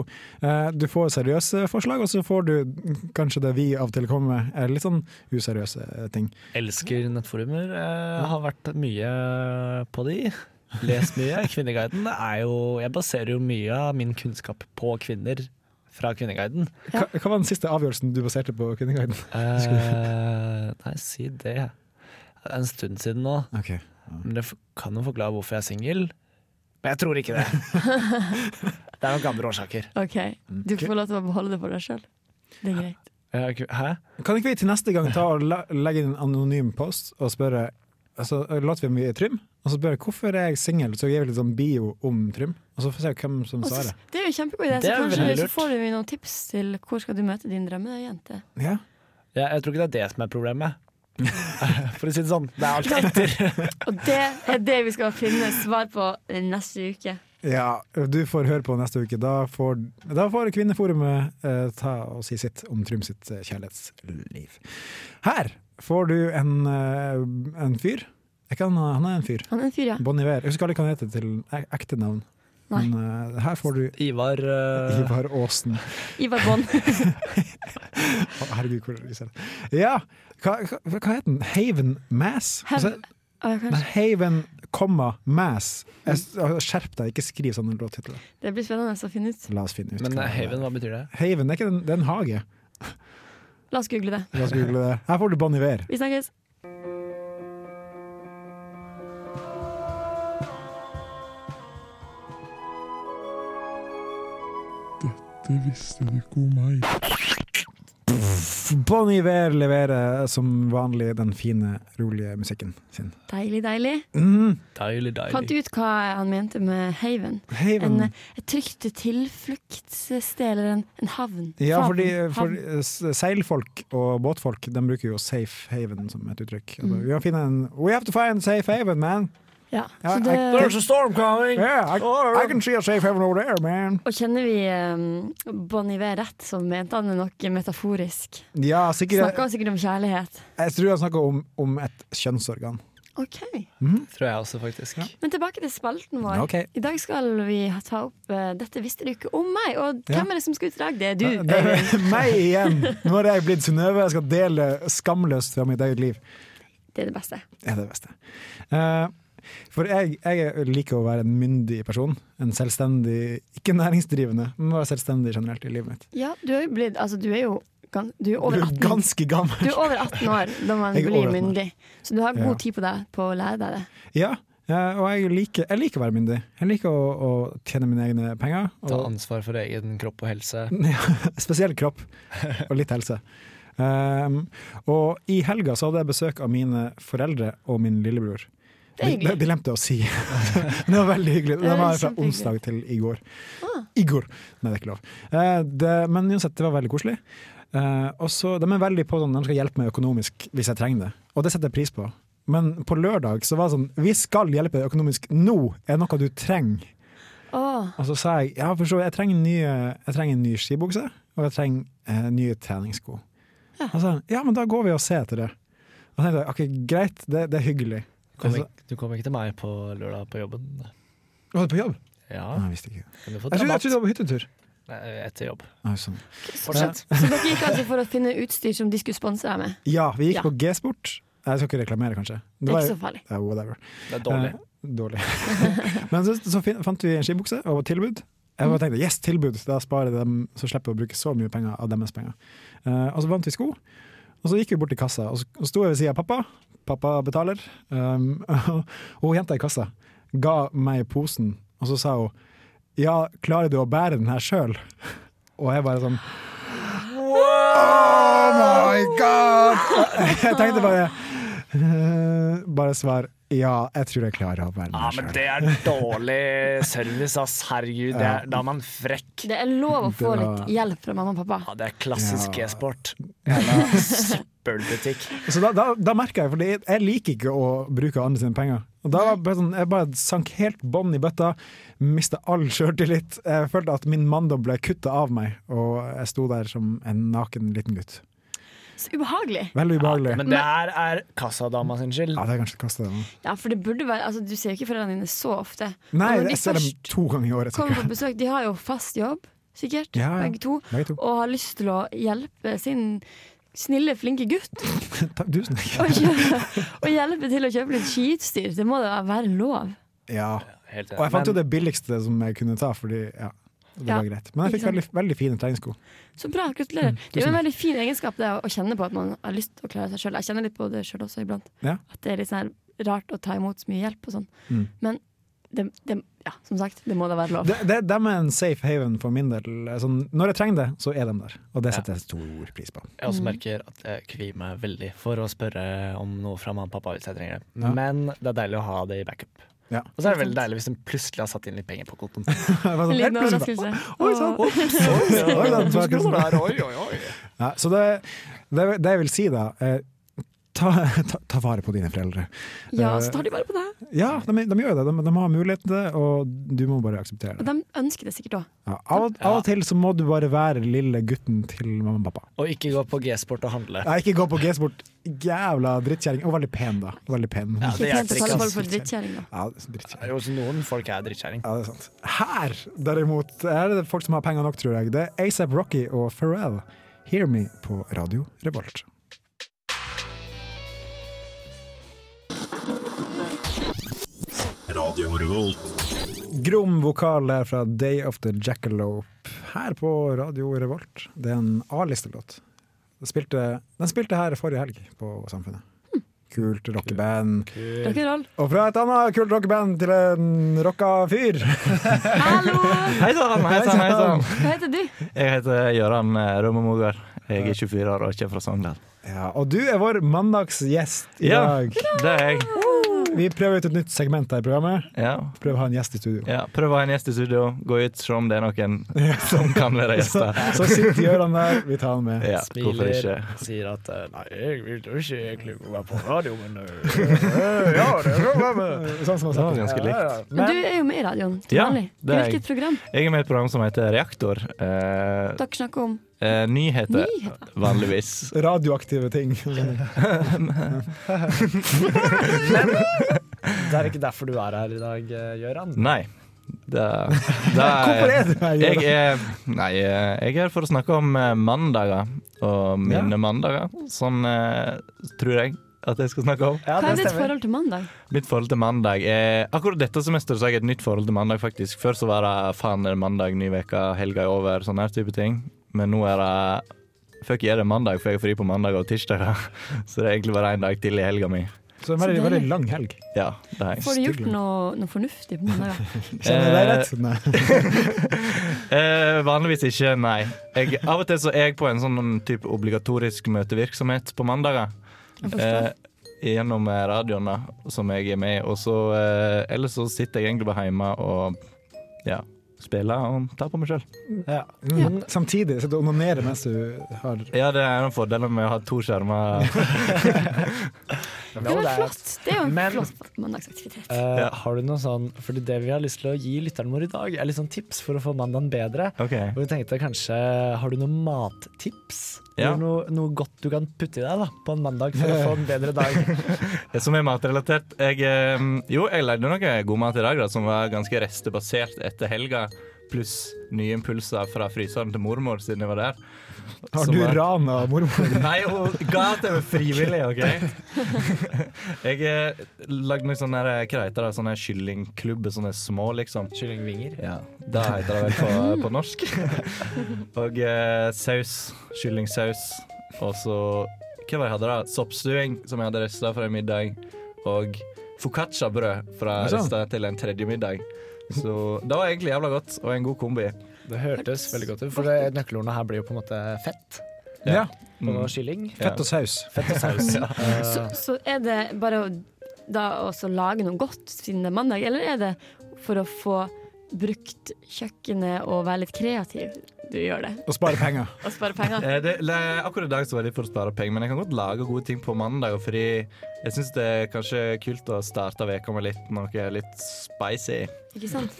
[SPEAKER 2] eh, Du får seriøse forslag, og så får du kanskje det vi av og til kommer med, er litt sånn useriøse eh, ting.
[SPEAKER 4] Elsker nettforumer. Jeg har vært mye eh, på de. Lest mye. Kvinneguiden er jo Jeg baserer jo mye av min kunnskap på kvinner fra Kvinneguiden.
[SPEAKER 2] Hva, hva var den siste avgjørelsen du baserte på Kvinneguiden?
[SPEAKER 4] Eh, nei, si det. Det er en stund siden nå.
[SPEAKER 2] Okay.
[SPEAKER 4] Men det f- kan jo forklare hvorfor jeg er singel. Men jeg tror ikke det. Det er nok andre årsaker.
[SPEAKER 3] Ok, Du får lov til å beholde det for deg sjøl. Det er greit.
[SPEAKER 4] Jeg har ikke- Hæ?
[SPEAKER 2] Kan ikke vi til neste gang ta og la, legge inn en anonym post og spørre altså, Later vi om vi er Trym, og så spørre hvorfor er jeg singel, så gir vi litt sånn bio om Trym, og så får vi se hvem som
[SPEAKER 3] Og så-
[SPEAKER 2] svarer.
[SPEAKER 3] det er jo en kjempegod idé,
[SPEAKER 4] Det
[SPEAKER 3] så
[SPEAKER 4] er
[SPEAKER 3] kanskje
[SPEAKER 4] veldig
[SPEAKER 3] så
[SPEAKER 4] lurt.
[SPEAKER 3] får vi noen tips til hvor skal du møte din drømmejente.
[SPEAKER 2] Ja.
[SPEAKER 4] Jeg, jeg tror ikke det er det som er problemet. For å si det sånn. Det er alt etter.
[SPEAKER 3] Og det er det vi skal finne svar på neste uke.
[SPEAKER 2] ja, du får høre på neste uke. Da får, da får Kvinneforumet eh, ta og si sitt om Trym sitt eh, kjærlighetsliv. Her får du en, eh, en fyr. Er ikke han, han er en fyr.
[SPEAKER 3] Han er en fyr, ja.
[SPEAKER 2] Bon Iver. Jeg husker aldri hva han heter til ek- ekte navn.
[SPEAKER 3] Nei.
[SPEAKER 2] Men eh, her får du
[SPEAKER 4] Ivar eh,
[SPEAKER 2] Ivar Aasen.
[SPEAKER 3] Ivar Bond.
[SPEAKER 2] Å, herregud, hvor er det ser det. Ja, hva, hva, hva heter den? Haven Mass? Altså,
[SPEAKER 3] Hev- Å, ja,
[SPEAKER 2] nei,
[SPEAKER 3] kanskje.
[SPEAKER 2] Haven, komma, Mass. Jeg, s- altså, skjerp deg, ikke skriv sånne låttitler.
[SPEAKER 3] Det blir spennende å finne ut.
[SPEAKER 2] La oss finne ut.
[SPEAKER 4] Men
[SPEAKER 2] hva det
[SPEAKER 4] eh,
[SPEAKER 2] er.
[SPEAKER 4] Haven, hva betyr det?
[SPEAKER 2] Haven, det er ikke den, det er en hage.
[SPEAKER 3] La oss google det.
[SPEAKER 2] La oss google det. Her får du Bon Iver.
[SPEAKER 3] Vi snakkes.
[SPEAKER 2] Bon Iver leverer eh, som vanlig den fine, rolige musikken sin.
[SPEAKER 3] Deilig, deilig.
[SPEAKER 2] Mm,
[SPEAKER 4] Deilig, deilig.
[SPEAKER 3] Fant du ut hva han mente med haven? En,
[SPEAKER 2] Haven.
[SPEAKER 3] eh, et trygt tilfluktssted eller en, en havn?
[SPEAKER 2] Ja,
[SPEAKER 3] Havn,
[SPEAKER 2] fordi for,
[SPEAKER 3] havn.
[SPEAKER 2] eh, s- seilfolk og båtfolk de bruker jo safe haven som et uttrykk.
[SPEAKER 3] Mm.
[SPEAKER 2] Altså, vi må finne en, we have to find safe haven, man!
[SPEAKER 3] ja.
[SPEAKER 2] Ja,
[SPEAKER 3] Så
[SPEAKER 2] jeg-
[SPEAKER 3] det,
[SPEAKER 4] a storm coming!
[SPEAKER 2] Yeah, I, I can see a safe haven over there, man!
[SPEAKER 3] og kjenner vi eh, Bon Iver rett, så mente han det nok metaforisk.
[SPEAKER 2] Ja, sikkert.
[SPEAKER 3] Snakka han sikkert om kjærlighet.
[SPEAKER 2] Jeg tror han snakker om, om et kjønnsorgan.
[SPEAKER 3] Ok.
[SPEAKER 4] Tror jeg også, faktisk.
[SPEAKER 3] Men tilbake til spalten vår.
[SPEAKER 2] Ok.
[SPEAKER 3] I dag skal vi ta opp eh, 'Dette visste du ikke om meg'. Og
[SPEAKER 2] Ja.
[SPEAKER 3] hvem er det som skal ut i dag? Det er du. eh,
[SPEAKER 2] Det
[SPEAKER 3] Øyvind.
[SPEAKER 2] er meg igjen! Nå har jeg blitt Synnøve, jeg skal dele skamløst fra mitt eget liv.
[SPEAKER 3] Det er det beste.
[SPEAKER 2] Det er det beste. Eh, for jeg, jeg liker å være en myndig person. En selvstendig, ikke næringsdrivende, men bare selvstendig generelt i livet mitt.
[SPEAKER 3] Ja, du er jo blitt Altså, du er jo gan- du er
[SPEAKER 2] Du
[SPEAKER 3] over
[SPEAKER 2] er
[SPEAKER 3] 18.
[SPEAKER 2] ganske
[SPEAKER 3] Du
[SPEAKER 2] gammel.
[SPEAKER 3] er over 18 år da man
[SPEAKER 2] Jeg er
[SPEAKER 3] blir
[SPEAKER 2] over 18 år.
[SPEAKER 3] myndig, så du har
[SPEAKER 2] Ja.
[SPEAKER 3] god tid på deg på å lære deg det.
[SPEAKER 2] Ja, eh, og jeg liker, jeg liker å være myndig. Jeg liker å, å tjene mine egne penger.
[SPEAKER 4] Ta
[SPEAKER 2] Og, Mm.
[SPEAKER 4] ansvar for egen kropp og helse.
[SPEAKER 2] spesielt kropp, og litt helse. Ehm, og i helga så hadde jeg besøk av mine foreldre og min lillebror.
[SPEAKER 3] Det er
[SPEAKER 2] De,
[SPEAKER 3] hyggelig.
[SPEAKER 2] de glemte å si. det var veldig hyggelig.
[SPEAKER 3] Det
[SPEAKER 2] De
[SPEAKER 3] er
[SPEAKER 2] var her fra
[SPEAKER 3] kjempehyggelig.
[SPEAKER 2] onsdag til i går.
[SPEAKER 3] Ah.
[SPEAKER 2] I går! Nei, det er ikke lov. Eh, det, men uansett, det var veldig koselig. Eh, og så, De er veldig på sånn, de skal hjelpe meg økonomisk hvis jeg trenger det, og det setter jeg pris på. Men på lørdag så var det sånn Vi skal hjelpe deg økonomisk nå! Er det noe du trenger?
[SPEAKER 3] Åh,
[SPEAKER 2] Og så sa jeg ja, for så vidt, jeg trenger en ny, jeg trenger en ny skibukse, og jeg trenger eh, nye treningssko.
[SPEAKER 3] Ja.
[SPEAKER 2] Og så sa han ja, men da går vi og ser etter det. Og tenkte jeg, ok, greit, det, det er hyggelig.
[SPEAKER 4] Du kom,
[SPEAKER 2] Altså-
[SPEAKER 4] ikke, du kom ikke til meg på lørdag på jobben.
[SPEAKER 2] Var du på jobb?
[SPEAKER 4] Ja,
[SPEAKER 2] Nei, jeg visste ikke.
[SPEAKER 4] kan du få
[SPEAKER 2] Jeg trodde, jeg
[SPEAKER 4] rabatt
[SPEAKER 2] trodde det var på hyttetur.
[SPEAKER 4] Nei, etter jobb.
[SPEAKER 2] Nei, sånn.
[SPEAKER 4] Fortsett.
[SPEAKER 8] Så dere gikk altså for å finne utstyr som de skulle sponse deg med.
[SPEAKER 2] Ja, vi gikk
[SPEAKER 8] Ja.
[SPEAKER 2] på G-sport. Jeg skal ikke reklamere, kanskje.
[SPEAKER 8] Det er ikke så farlig.
[SPEAKER 2] ja, whatever.
[SPEAKER 4] Det er dårlig.
[SPEAKER 2] Eh, dårlig. Men så, så fin, fant vi en skibukse og tilbud. Jeg
[SPEAKER 4] Mm.
[SPEAKER 2] bare tenkte yes, tilbud, da sparer jeg dem, så slipper jeg å bruke så mye penger av deres penger. Eh, og så vant vi sko, og så gikk vi bort til kassa, og så og sto jeg ved siden av pappa. Pappa betaler. Um, og hun jenta i kassa ga meg posen, og så sa hun ja, klarer du å bære den her sjøl? Og jeg bare sånn Oh my god! Jeg tenkte bare eh, Bare svar ja, jeg tror jeg klarer å bære den
[SPEAKER 4] Ja,
[SPEAKER 2] her
[SPEAKER 4] men
[SPEAKER 2] sjøl.
[SPEAKER 4] det er dårlig service, ass. Herregud, det er, da er man frekk.
[SPEAKER 8] Det er lov å få
[SPEAKER 2] Det var-
[SPEAKER 8] litt hjelp fra mamma og pappa.
[SPEAKER 4] Ja, det er klassisk
[SPEAKER 2] Ja.
[SPEAKER 4] e-sport. Jævla Søppelbutikk.
[SPEAKER 2] Så da, da, da merka jeg, for jeg liker ikke å bruke andre sine penger. Og da var jeg bare sånn, Jeg bare sank helt bånn i bøtta, mista all sjøltillit. Jeg følte at min manndom ble kutta av meg, og jeg sto der som en naken liten gutt.
[SPEAKER 8] Så ubehagelig.
[SPEAKER 2] Veldig ubehagelig. Ja,
[SPEAKER 4] Men det her er kassadama sin skyld.
[SPEAKER 2] det er kanskje kastet det nå.
[SPEAKER 8] Ja, for det burde være Altså, du ser jo ikke foreldrene dine så ofte.
[SPEAKER 2] Nei,
[SPEAKER 8] Og når de
[SPEAKER 2] jeg ser dem
[SPEAKER 8] først
[SPEAKER 2] to ganger i året.
[SPEAKER 8] Kommer
[SPEAKER 2] tenker
[SPEAKER 8] på
[SPEAKER 2] jeg.
[SPEAKER 8] besøk, de har jo fast jobb, sikkert,
[SPEAKER 2] Ja, ja.
[SPEAKER 8] begge to,
[SPEAKER 2] Begge to.
[SPEAKER 8] og har lyst til å hjelpe sin snille, flinke gutt
[SPEAKER 2] Takk, tusen takk.
[SPEAKER 8] å kjøpe, å hjelpe til å kjøpe litt skiutstyr. Det må da være lov.
[SPEAKER 2] Ja.
[SPEAKER 4] Helt enig.
[SPEAKER 2] Og jeg fant jo
[SPEAKER 4] Men
[SPEAKER 2] det billigste som jeg kunne ta, fordi ja, det
[SPEAKER 8] Ja,
[SPEAKER 2] var greit. Men jeg fikk
[SPEAKER 8] ikke
[SPEAKER 2] veldig, veldig fine treningssko.
[SPEAKER 8] Så bra, gratulerer. Det er jo en veldig fin egenskap det å- å kjenne på at man har lyst til å klare seg sjøl. Jeg kjenner litt på det sjøl også iblant.
[SPEAKER 2] Ja.
[SPEAKER 8] At det er litt sånn her rart å ta imot så mye hjelp og sånn.
[SPEAKER 2] Mm.
[SPEAKER 8] Men det, det, ja, som sagt, det må da være lov.
[SPEAKER 2] De, de, de er en safe haven for min del. Sånn, når jeg trenger det, så er de der. Og det
[SPEAKER 4] Ja.
[SPEAKER 2] setter jeg stor pris på.
[SPEAKER 4] Jeg også merker at jeg kvier meg veldig for å spørre om noe fra mamma og pappa hvis jeg trenger det.
[SPEAKER 2] Ja.
[SPEAKER 4] Men det er deilig å ha det i backup.
[SPEAKER 2] Ja.
[SPEAKER 4] Og så er det veldig deilig hvis en plutselig har satt inn litt penger på kontoen.
[SPEAKER 2] Jeg var
[SPEAKER 8] En
[SPEAKER 2] sånn,
[SPEAKER 8] liten
[SPEAKER 2] helt plutselig
[SPEAKER 8] overraskelse.
[SPEAKER 2] bare, Oi sann! Oi, da, to kroner der, Ja, så det, det, det jeg vil si, da eh, Ta, ta, ta vare på dine foreldre.
[SPEAKER 8] Ja,
[SPEAKER 2] Eh.
[SPEAKER 8] så tar de bare på deg.
[SPEAKER 2] Ja, de, de gjør det. De, de har muligheten til det, og du må bare akseptere
[SPEAKER 8] Og
[SPEAKER 2] det.
[SPEAKER 8] de ønsker det sikkert òg.
[SPEAKER 2] Ja, av, og- av og til så må du bare være lille gutten til mamma og pappa.
[SPEAKER 4] Og ikke gå på G-sport og handle.
[SPEAKER 2] Nei, ikke gå på G-sport. Jævla drittkjerring. Og veldig pen, da. Veldig pen.
[SPEAKER 4] Ja,
[SPEAKER 8] Ikke
[SPEAKER 4] det
[SPEAKER 8] pent å
[SPEAKER 4] hjelper
[SPEAKER 8] kalle
[SPEAKER 4] ikke.
[SPEAKER 8] folk
[SPEAKER 4] ass.
[SPEAKER 8] for drittkjerring, da.
[SPEAKER 2] Ja, drittkjerring.
[SPEAKER 4] Jo, så Noen folk er drittkjerring.
[SPEAKER 2] Ja, det er sant. Her, derimot, er det folk som har penger nok, tror jeg. Det er ASAP Rocky og Pharrell. Hear Me på Radio Revolt.
[SPEAKER 6] Radio Revolt.
[SPEAKER 2] Grom vokal der fra Day of the Jackalope her på Radio Revolt. Det er en A-listelåt. Den spilte, den spilte her forrige helg på Samfunnet. Kult rockeband.
[SPEAKER 8] Rock'n'roll.
[SPEAKER 2] Og fra et annet kult rockeband til en rocka fyr.
[SPEAKER 8] Hallo!
[SPEAKER 9] Hei sann, hei sann, hei sann.
[SPEAKER 3] sånn.
[SPEAKER 8] Hva heter du?
[SPEAKER 9] Jeg heter Gøran Rømmemogar. Jeg er 24 år og ikke fra Sogndal.
[SPEAKER 2] Ja, og du er vår mandagsgjest i
[SPEAKER 9] Ja.
[SPEAKER 2] dag.
[SPEAKER 9] Det er jeg.
[SPEAKER 2] Vi prøver ut et nytt segment her i programmet.
[SPEAKER 9] Ja.
[SPEAKER 2] Prøver å ha en gjest i studio.
[SPEAKER 9] ja. Prøv å ha en gjest i studio. Gå ut, se om det er noen som kan være
[SPEAKER 2] Så,
[SPEAKER 9] gjester.
[SPEAKER 2] så sitter Gøran der, vi tar han med.
[SPEAKER 9] Ja, hvorfor
[SPEAKER 4] Smiler,
[SPEAKER 9] ikke?
[SPEAKER 4] sier at eh, Nei, jeg vil jo ikke egentlig være på radio, men eh, Ja, det kan være med.
[SPEAKER 2] Sånn som han
[SPEAKER 9] Det var
[SPEAKER 2] snakker.
[SPEAKER 9] ganske likt.
[SPEAKER 8] Men du er jo med i radioen til
[SPEAKER 9] Ja,
[SPEAKER 8] vanlig.
[SPEAKER 9] det er jeg.
[SPEAKER 8] Hvilket program?
[SPEAKER 9] Jeg er med i et program som heter Reaktor. Eh,
[SPEAKER 8] Dere snakker om
[SPEAKER 9] eh, nyheter,
[SPEAKER 8] Nyheter.
[SPEAKER 9] vanligvis.
[SPEAKER 2] Radioaktive ting.
[SPEAKER 9] Eh,
[SPEAKER 4] Det er ikke derfor du er her i dag, eh, Gøran.
[SPEAKER 9] Nei. Det, det
[SPEAKER 2] Hvorfor er du her?
[SPEAKER 9] Jeg
[SPEAKER 2] Gøran?
[SPEAKER 9] er, nei, eh, jeg er her for å snakke om eh, mandager og mine mandager. Sånn eh, tror jeg at jeg skal snakke om.
[SPEAKER 4] Ja,
[SPEAKER 8] Hva er ditt forhold til mandag?
[SPEAKER 9] Mitt forhold til mandag er Akkurat dette semesteret så har jeg et nytt forhold til mandag, faktisk. Før så var det faen er det mandag, ny uke, helga er over, sånn her type ting. Men nå er det Fuck, er det mandag, for jeg har fri på mandag og tirsdager. Så det er egentlig bare én dag til i helga mi.
[SPEAKER 2] Så en veldig,
[SPEAKER 8] Så
[SPEAKER 2] veldig
[SPEAKER 8] deilig.
[SPEAKER 2] lang helg.
[SPEAKER 9] Ja, det har jeg.
[SPEAKER 8] Får du gjort noe, noe fornuftig på mandag?
[SPEAKER 2] Kjenner jeg deg rett? Nei.
[SPEAKER 9] Eh, vanligvis ikke, nei. Jeg, av og til så er jeg på en sånn type obligatorisk møtevirksomhet på mandager. Eh, gjennom eh, radioen da, som jeg er med i. Og så eh, Ellers så sitter jeg egentlig bare hjemme og ja, spiller og tar på meg sjøl.
[SPEAKER 2] Mm. Samtidig sitter du og onanerer mens du har
[SPEAKER 9] Ja, det er en av fordelene med å ha to skjermer.
[SPEAKER 3] Det
[SPEAKER 4] Jo,
[SPEAKER 3] er
[SPEAKER 4] det er-
[SPEAKER 3] flott. Det er jo en
[SPEAKER 4] Men-
[SPEAKER 3] flott mandagsaktivitet.
[SPEAKER 4] Eh,
[SPEAKER 9] Ja.
[SPEAKER 4] Har du noe sånn Fordi det vi har lyst til å gi lytteren vår i dag, er litt sånn tips for å få mandagen bedre.
[SPEAKER 9] Ok.
[SPEAKER 4] Og vi tenkte kanskje Har du noen mattips?
[SPEAKER 9] Ja.
[SPEAKER 4] Eller noe, noe godt du kan putte i deg da på en mandag for å få en bedre dag?
[SPEAKER 9] Det som er matrelatert jeg, eh, Jo, jeg lagde noe god mat i dag da, som var ganske restebasert etter helga. Pluss nye impulser fra fryseren til mormor siden jeg var der.
[SPEAKER 10] Har
[SPEAKER 9] Som
[SPEAKER 10] du
[SPEAKER 9] er-
[SPEAKER 10] rana mormor?
[SPEAKER 9] Nei, hun ga det med frivillig, OK? Jeg eh, lagde noen sånne her kreiter, da, sånne kyllingklubber, sånne små, liksom.
[SPEAKER 4] Kyllingvinger.
[SPEAKER 9] Ja, Det heter det vel på, på norsk. Og eh, saus. Kyllingsaus. Og så Hva var det jeg hadde da? Soppstuing, som jeg hadde rista fra en middag. Og foccaccia-brød fra
[SPEAKER 10] Det er sant.
[SPEAKER 9] rista til en tredje middag. Så det var egentlig jævla godt, og en god kombi.
[SPEAKER 4] Det hørtes veldig godt ut, for det- nøkkelordene her blir jo på en måte fett
[SPEAKER 10] Ja.
[SPEAKER 4] og
[SPEAKER 9] Mm.
[SPEAKER 4] kylling.
[SPEAKER 9] Ja.
[SPEAKER 2] Fett og saus.
[SPEAKER 4] Fett og saus. Eh,
[SPEAKER 3] Så, så er det bare å, da også lage noe godt siden det er mandag, eller er det for å få brukt kjøkkenet og være litt kreativ? Du gjør det.
[SPEAKER 2] Og spare penger.
[SPEAKER 3] Og spare penger.
[SPEAKER 9] Eh, Det, le, akkurat i dag så var det for å spare penger, men jeg kan godt lage gode ting på mandag. Fordi jeg syns det er kanskje kult å starte veka med litt noe litt spicy.
[SPEAKER 3] Ikke sant?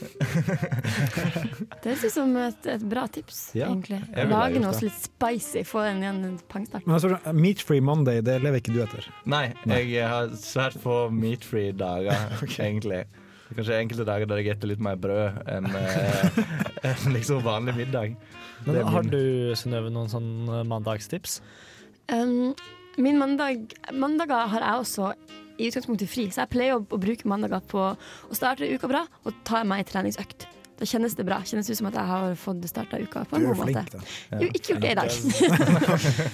[SPEAKER 3] Det høres ut som et, et bra tips,
[SPEAKER 9] Ja,
[SPEAKER 3] egentlig.
[SPEAKER 9] jeg ville gjort
[SPEAKER 3] Lage noe
[SPEAKER 9] det.
[SPEAKER 3] litt spicy, få en igjen en pangstart.
[SPEAKER 2] Men altså, Meat Free Monday, det lever ikke du etter.
[SPEAKER 9] Nei, jeg har svært få meat-free dager, egentlig. Det er Kanskje enkelte dager der jeg spiser litt mer brød enn eh, enn liksom vanlig middag. Det er
[SPEAKER 4] Men har
[SPEAKER 9] min-
[SPEAKER 4] du, Synnøve, noen sånn mandagstips?
[SPEAKER 3] Um, min mandag, mandager har jeg også i utgangspunktet fri, så jeg pleier å, å bruke mandager på å starte uka bra og ta meg en treningsøkt. Da kjennes det bra. Kjennes ut som at jeg har fått starta uka på en god måte.
[SPEAKER 2] da.
[SPEAKER 3] Jo, ikke gjort det i dag.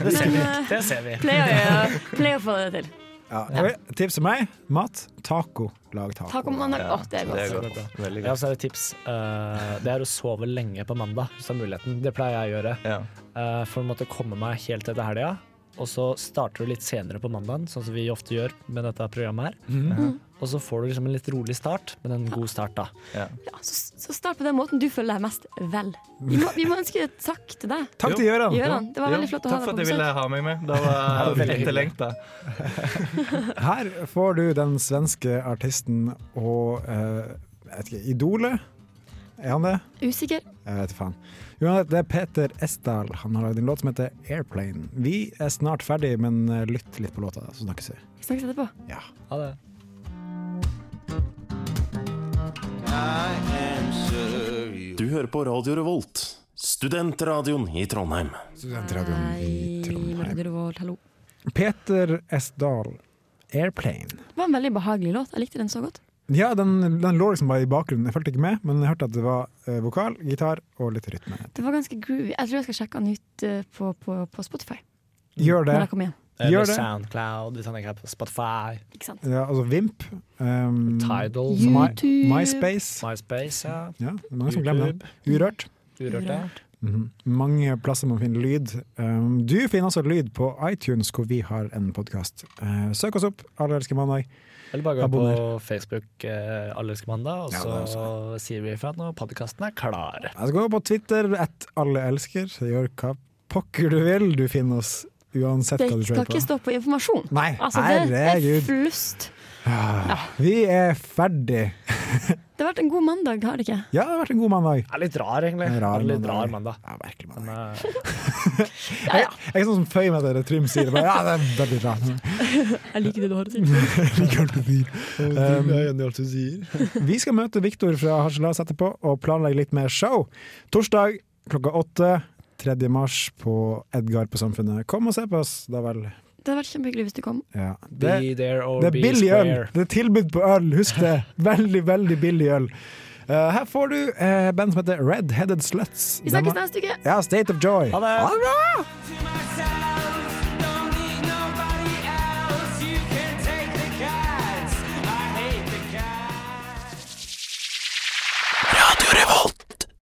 [SPEAKER 3] Men eh,
[SPEAKER 4] Det ser vi.
[SPEAKER 3] pleier, jeg, pleier å få det til.
[SPEAKER 2] Ja. Ok, Tips til meg mat. Taco. Lag taco.
[SPEAKER 3] Taco mandag, åh, det er
[SPEAKER 9] Det
[SPEAKER 3] godt.
[SPEAKER 9] er godt. Veldig
[SPEAKER 4] Ja,
[SPEAKER 9] godt.
[SPEAKER 4] så er det et tips. eh, det er å sove lenge på mandag, hvis du har muligheten. Det pleier jeg å gjøre.
[SPEAKER 9] Ja.
[SPEAKER 4] Eh, for å måtte komme meg helt etter helga. Og så starter du litt senere på mandagen, sånn som vi ofte gjør med dette programmet her.
[SPEAKER 2] Mhm.
[SPEAKER 4] Og så får du liksom en litt rolig start, men en god start, da.
[SPEAKER 3] Ja, så, så start på den måten du føler deg mest vel. Vi må, vi må ønske takk til deg,
[SPEAKER 2] Takk til Gøran.
[SPEAKER 3] Gøran. Det var
[SPEAKER 9] Jo,
[SPEAKER 3] veldig flott å ha
[SPEAKER 9] Takk
[SPEAKER 3] deg
[SPEAKER 9] for
[SPEAKER 3] på
[SPEAKER 9] at jeg ville
[SPEAKER 3] besøk.
[SPEAKER 9] ha meg med. Det var
[SPEAKER 4] veldig
[SPEAKER 9] etterlengta.
[SPEAKER 2] Her får du den svenske artisten og eh, jeg vet ikke, idolet. Er han det?
[SPEAKER 3] Usikker.
[SPEAKER 2] Jeg vet faen. Uansett, det er Peter Esdal. Han har lagd en låt som heter 'Airplane'. Vi er snart ferdig, men eh, lytt litt på låta, så snakkes vi.
[SPEAKER 3] Vi snakkes etterpå.
[SPEAKER 2] Ja.
[SPEAKER 4] Ha det.
[SPEAKER 6] Du hører på Radio Revolt, studentradioen i Trondheim.
[SPEAKER 2] Studentradioen i
[SPEAKER 3] Martin
[SPEAKER 2] Trondheim.
[SPEAKER 3] Grøvold, hallo.
[SPEAKER 2] Peter Esdal, 'Airplane'.
[SPEAKER 3] Det var en veldig behagelig låt. Jeg likte den så godt.
[SPEAKER 2] Ja, den, den lå liksom bare i bakgrunnen. Jeg fulgte ikke med, men jeg hørte at det var eh, vokal, gitar og litt rytme.
[SPEAKER 3] Det var ganske groovy. Jeg tror jeg skal sjekke den ut eh, på, på, på Spotify
[SPEAKER 2] Gjør det.
[SPEAKER 3] når jeg kommer hjem.
[SPEAKER 2] Gjør
[SPEAKER 4] Eller
[SPEAKER 2] det.
[SPEAKER 4] Eh, Soundcloud, hvis han ikke er på Spotify,
[SPEAKER 3] Ikke sant?
[SPEAKER 2] Ja, altså Vimp. Um,
[SPEAKER 4] Tidal,
[SPEAKER 3] You-
[SPEAKER 2] My,
[SPEAKER 3] YouTube.
[SPEAKER 2] MySpace.
[SPEAKER 4] MySpace, ja.
[SPEAKER 2] Ja, det er mange som glemmer det. Urørt.
[SPEAKER 4] Urørt, ja.
[SPEAKER 2] Mhm. Mange plasser man finner lyd. Um, du finner også lyd på iTunes, hvor vi har en podkast. søk oss opp, alle elsker mandag.
[SPEAKER 4] Eller bare gå
[SPEAKER 2] Abonner.
[SPEAKER 4] på Facebook eh, Alle elsker mandag, og
[SPEAKER 2] Ja,
[SPEAKER 4] så
[SPEAKER 2] det
[SPEAKER 4] sier vi ifra når podkasten er klar.
[SPEAKER 2] Jeg skal gå på Twitter, ett alle elsker. Så Gjør hva pokker du vil. Du finner oss uansett
[SPEAKER 3] Det
[SPEAKER 2] hva du
[SPEAKER 3] skal
[SPEAKER 2] tror
[SPEAKER 3] ikke
[SPEAKER 2] på.
[SPEAKER 3] stå på informasjon.
[SPEAKER 2] Nei,
[SPEAKER 3] Altså, det er
[SPEAKER 2] herregud.
[SPEAKER 3] flust.
[SPEAKER 2] Vi er ferdig.
[SPEAKER 3] Det har vært en god mandag, har det ikke?
[SPEAKER 2] Ja, det har vært en god mandag.
[SPEAKER 4] Det er litt rar, egentlig.
[SPEAKER 2] En
[SPEAKER 4] Det er litt
[SPEAKER 2] mandag.
[SPEAKER 4] rar mandag.
[SPEAKER 2] Ja, virkelig mandag.
[SPEAKER 4] Men, eh,
[SPEAKER 2] Jeg er ikke sånn som føyer meg til det Trym sier. Bare, ja, det er veldig bra.
[SPEAKER 11] Jeg liker det du har å si.
[SPEAKER 2] Liker alt du sier. Um, Vi skal møte Viktor fra Harselas etterpå og planlegge litt mer show. Torsdag klokka åtte. 3. mars på Edgar på Samfunnet. Kom og se på oss, da vel.
[SPEAKER 3] Det hadde vært kjempehyggelig hvis du kom.
[SPEAKER 2] Ja.
[SPEAKER 4] Be
[SPEAKER 2] Det,
[SPEAKER 4] there or
[SPEAKER 2] det er
[SPEAKER 4] be
[SPEAKER 2] billig øl!
[SPEAKER 4] square.
[SPEAKER 2] Det er tilbud på øl, husk det! Veldig, veldig billig øl. Eh, her får du eh, band som heter Red Headed Sluts.
[SPEAKER 3] Vi
[SPEAKER 2] Dem
[SPEAKER 3] snakkes
[SPEAKER 2] har-
[SPEAKER 3] neste uke!
[SPEAKER 2] Ja, State of Joy.
[SPEAKER 4] Ha det!
[SPEAKER 2] Ha det bra!
[SPEAKER 12] To my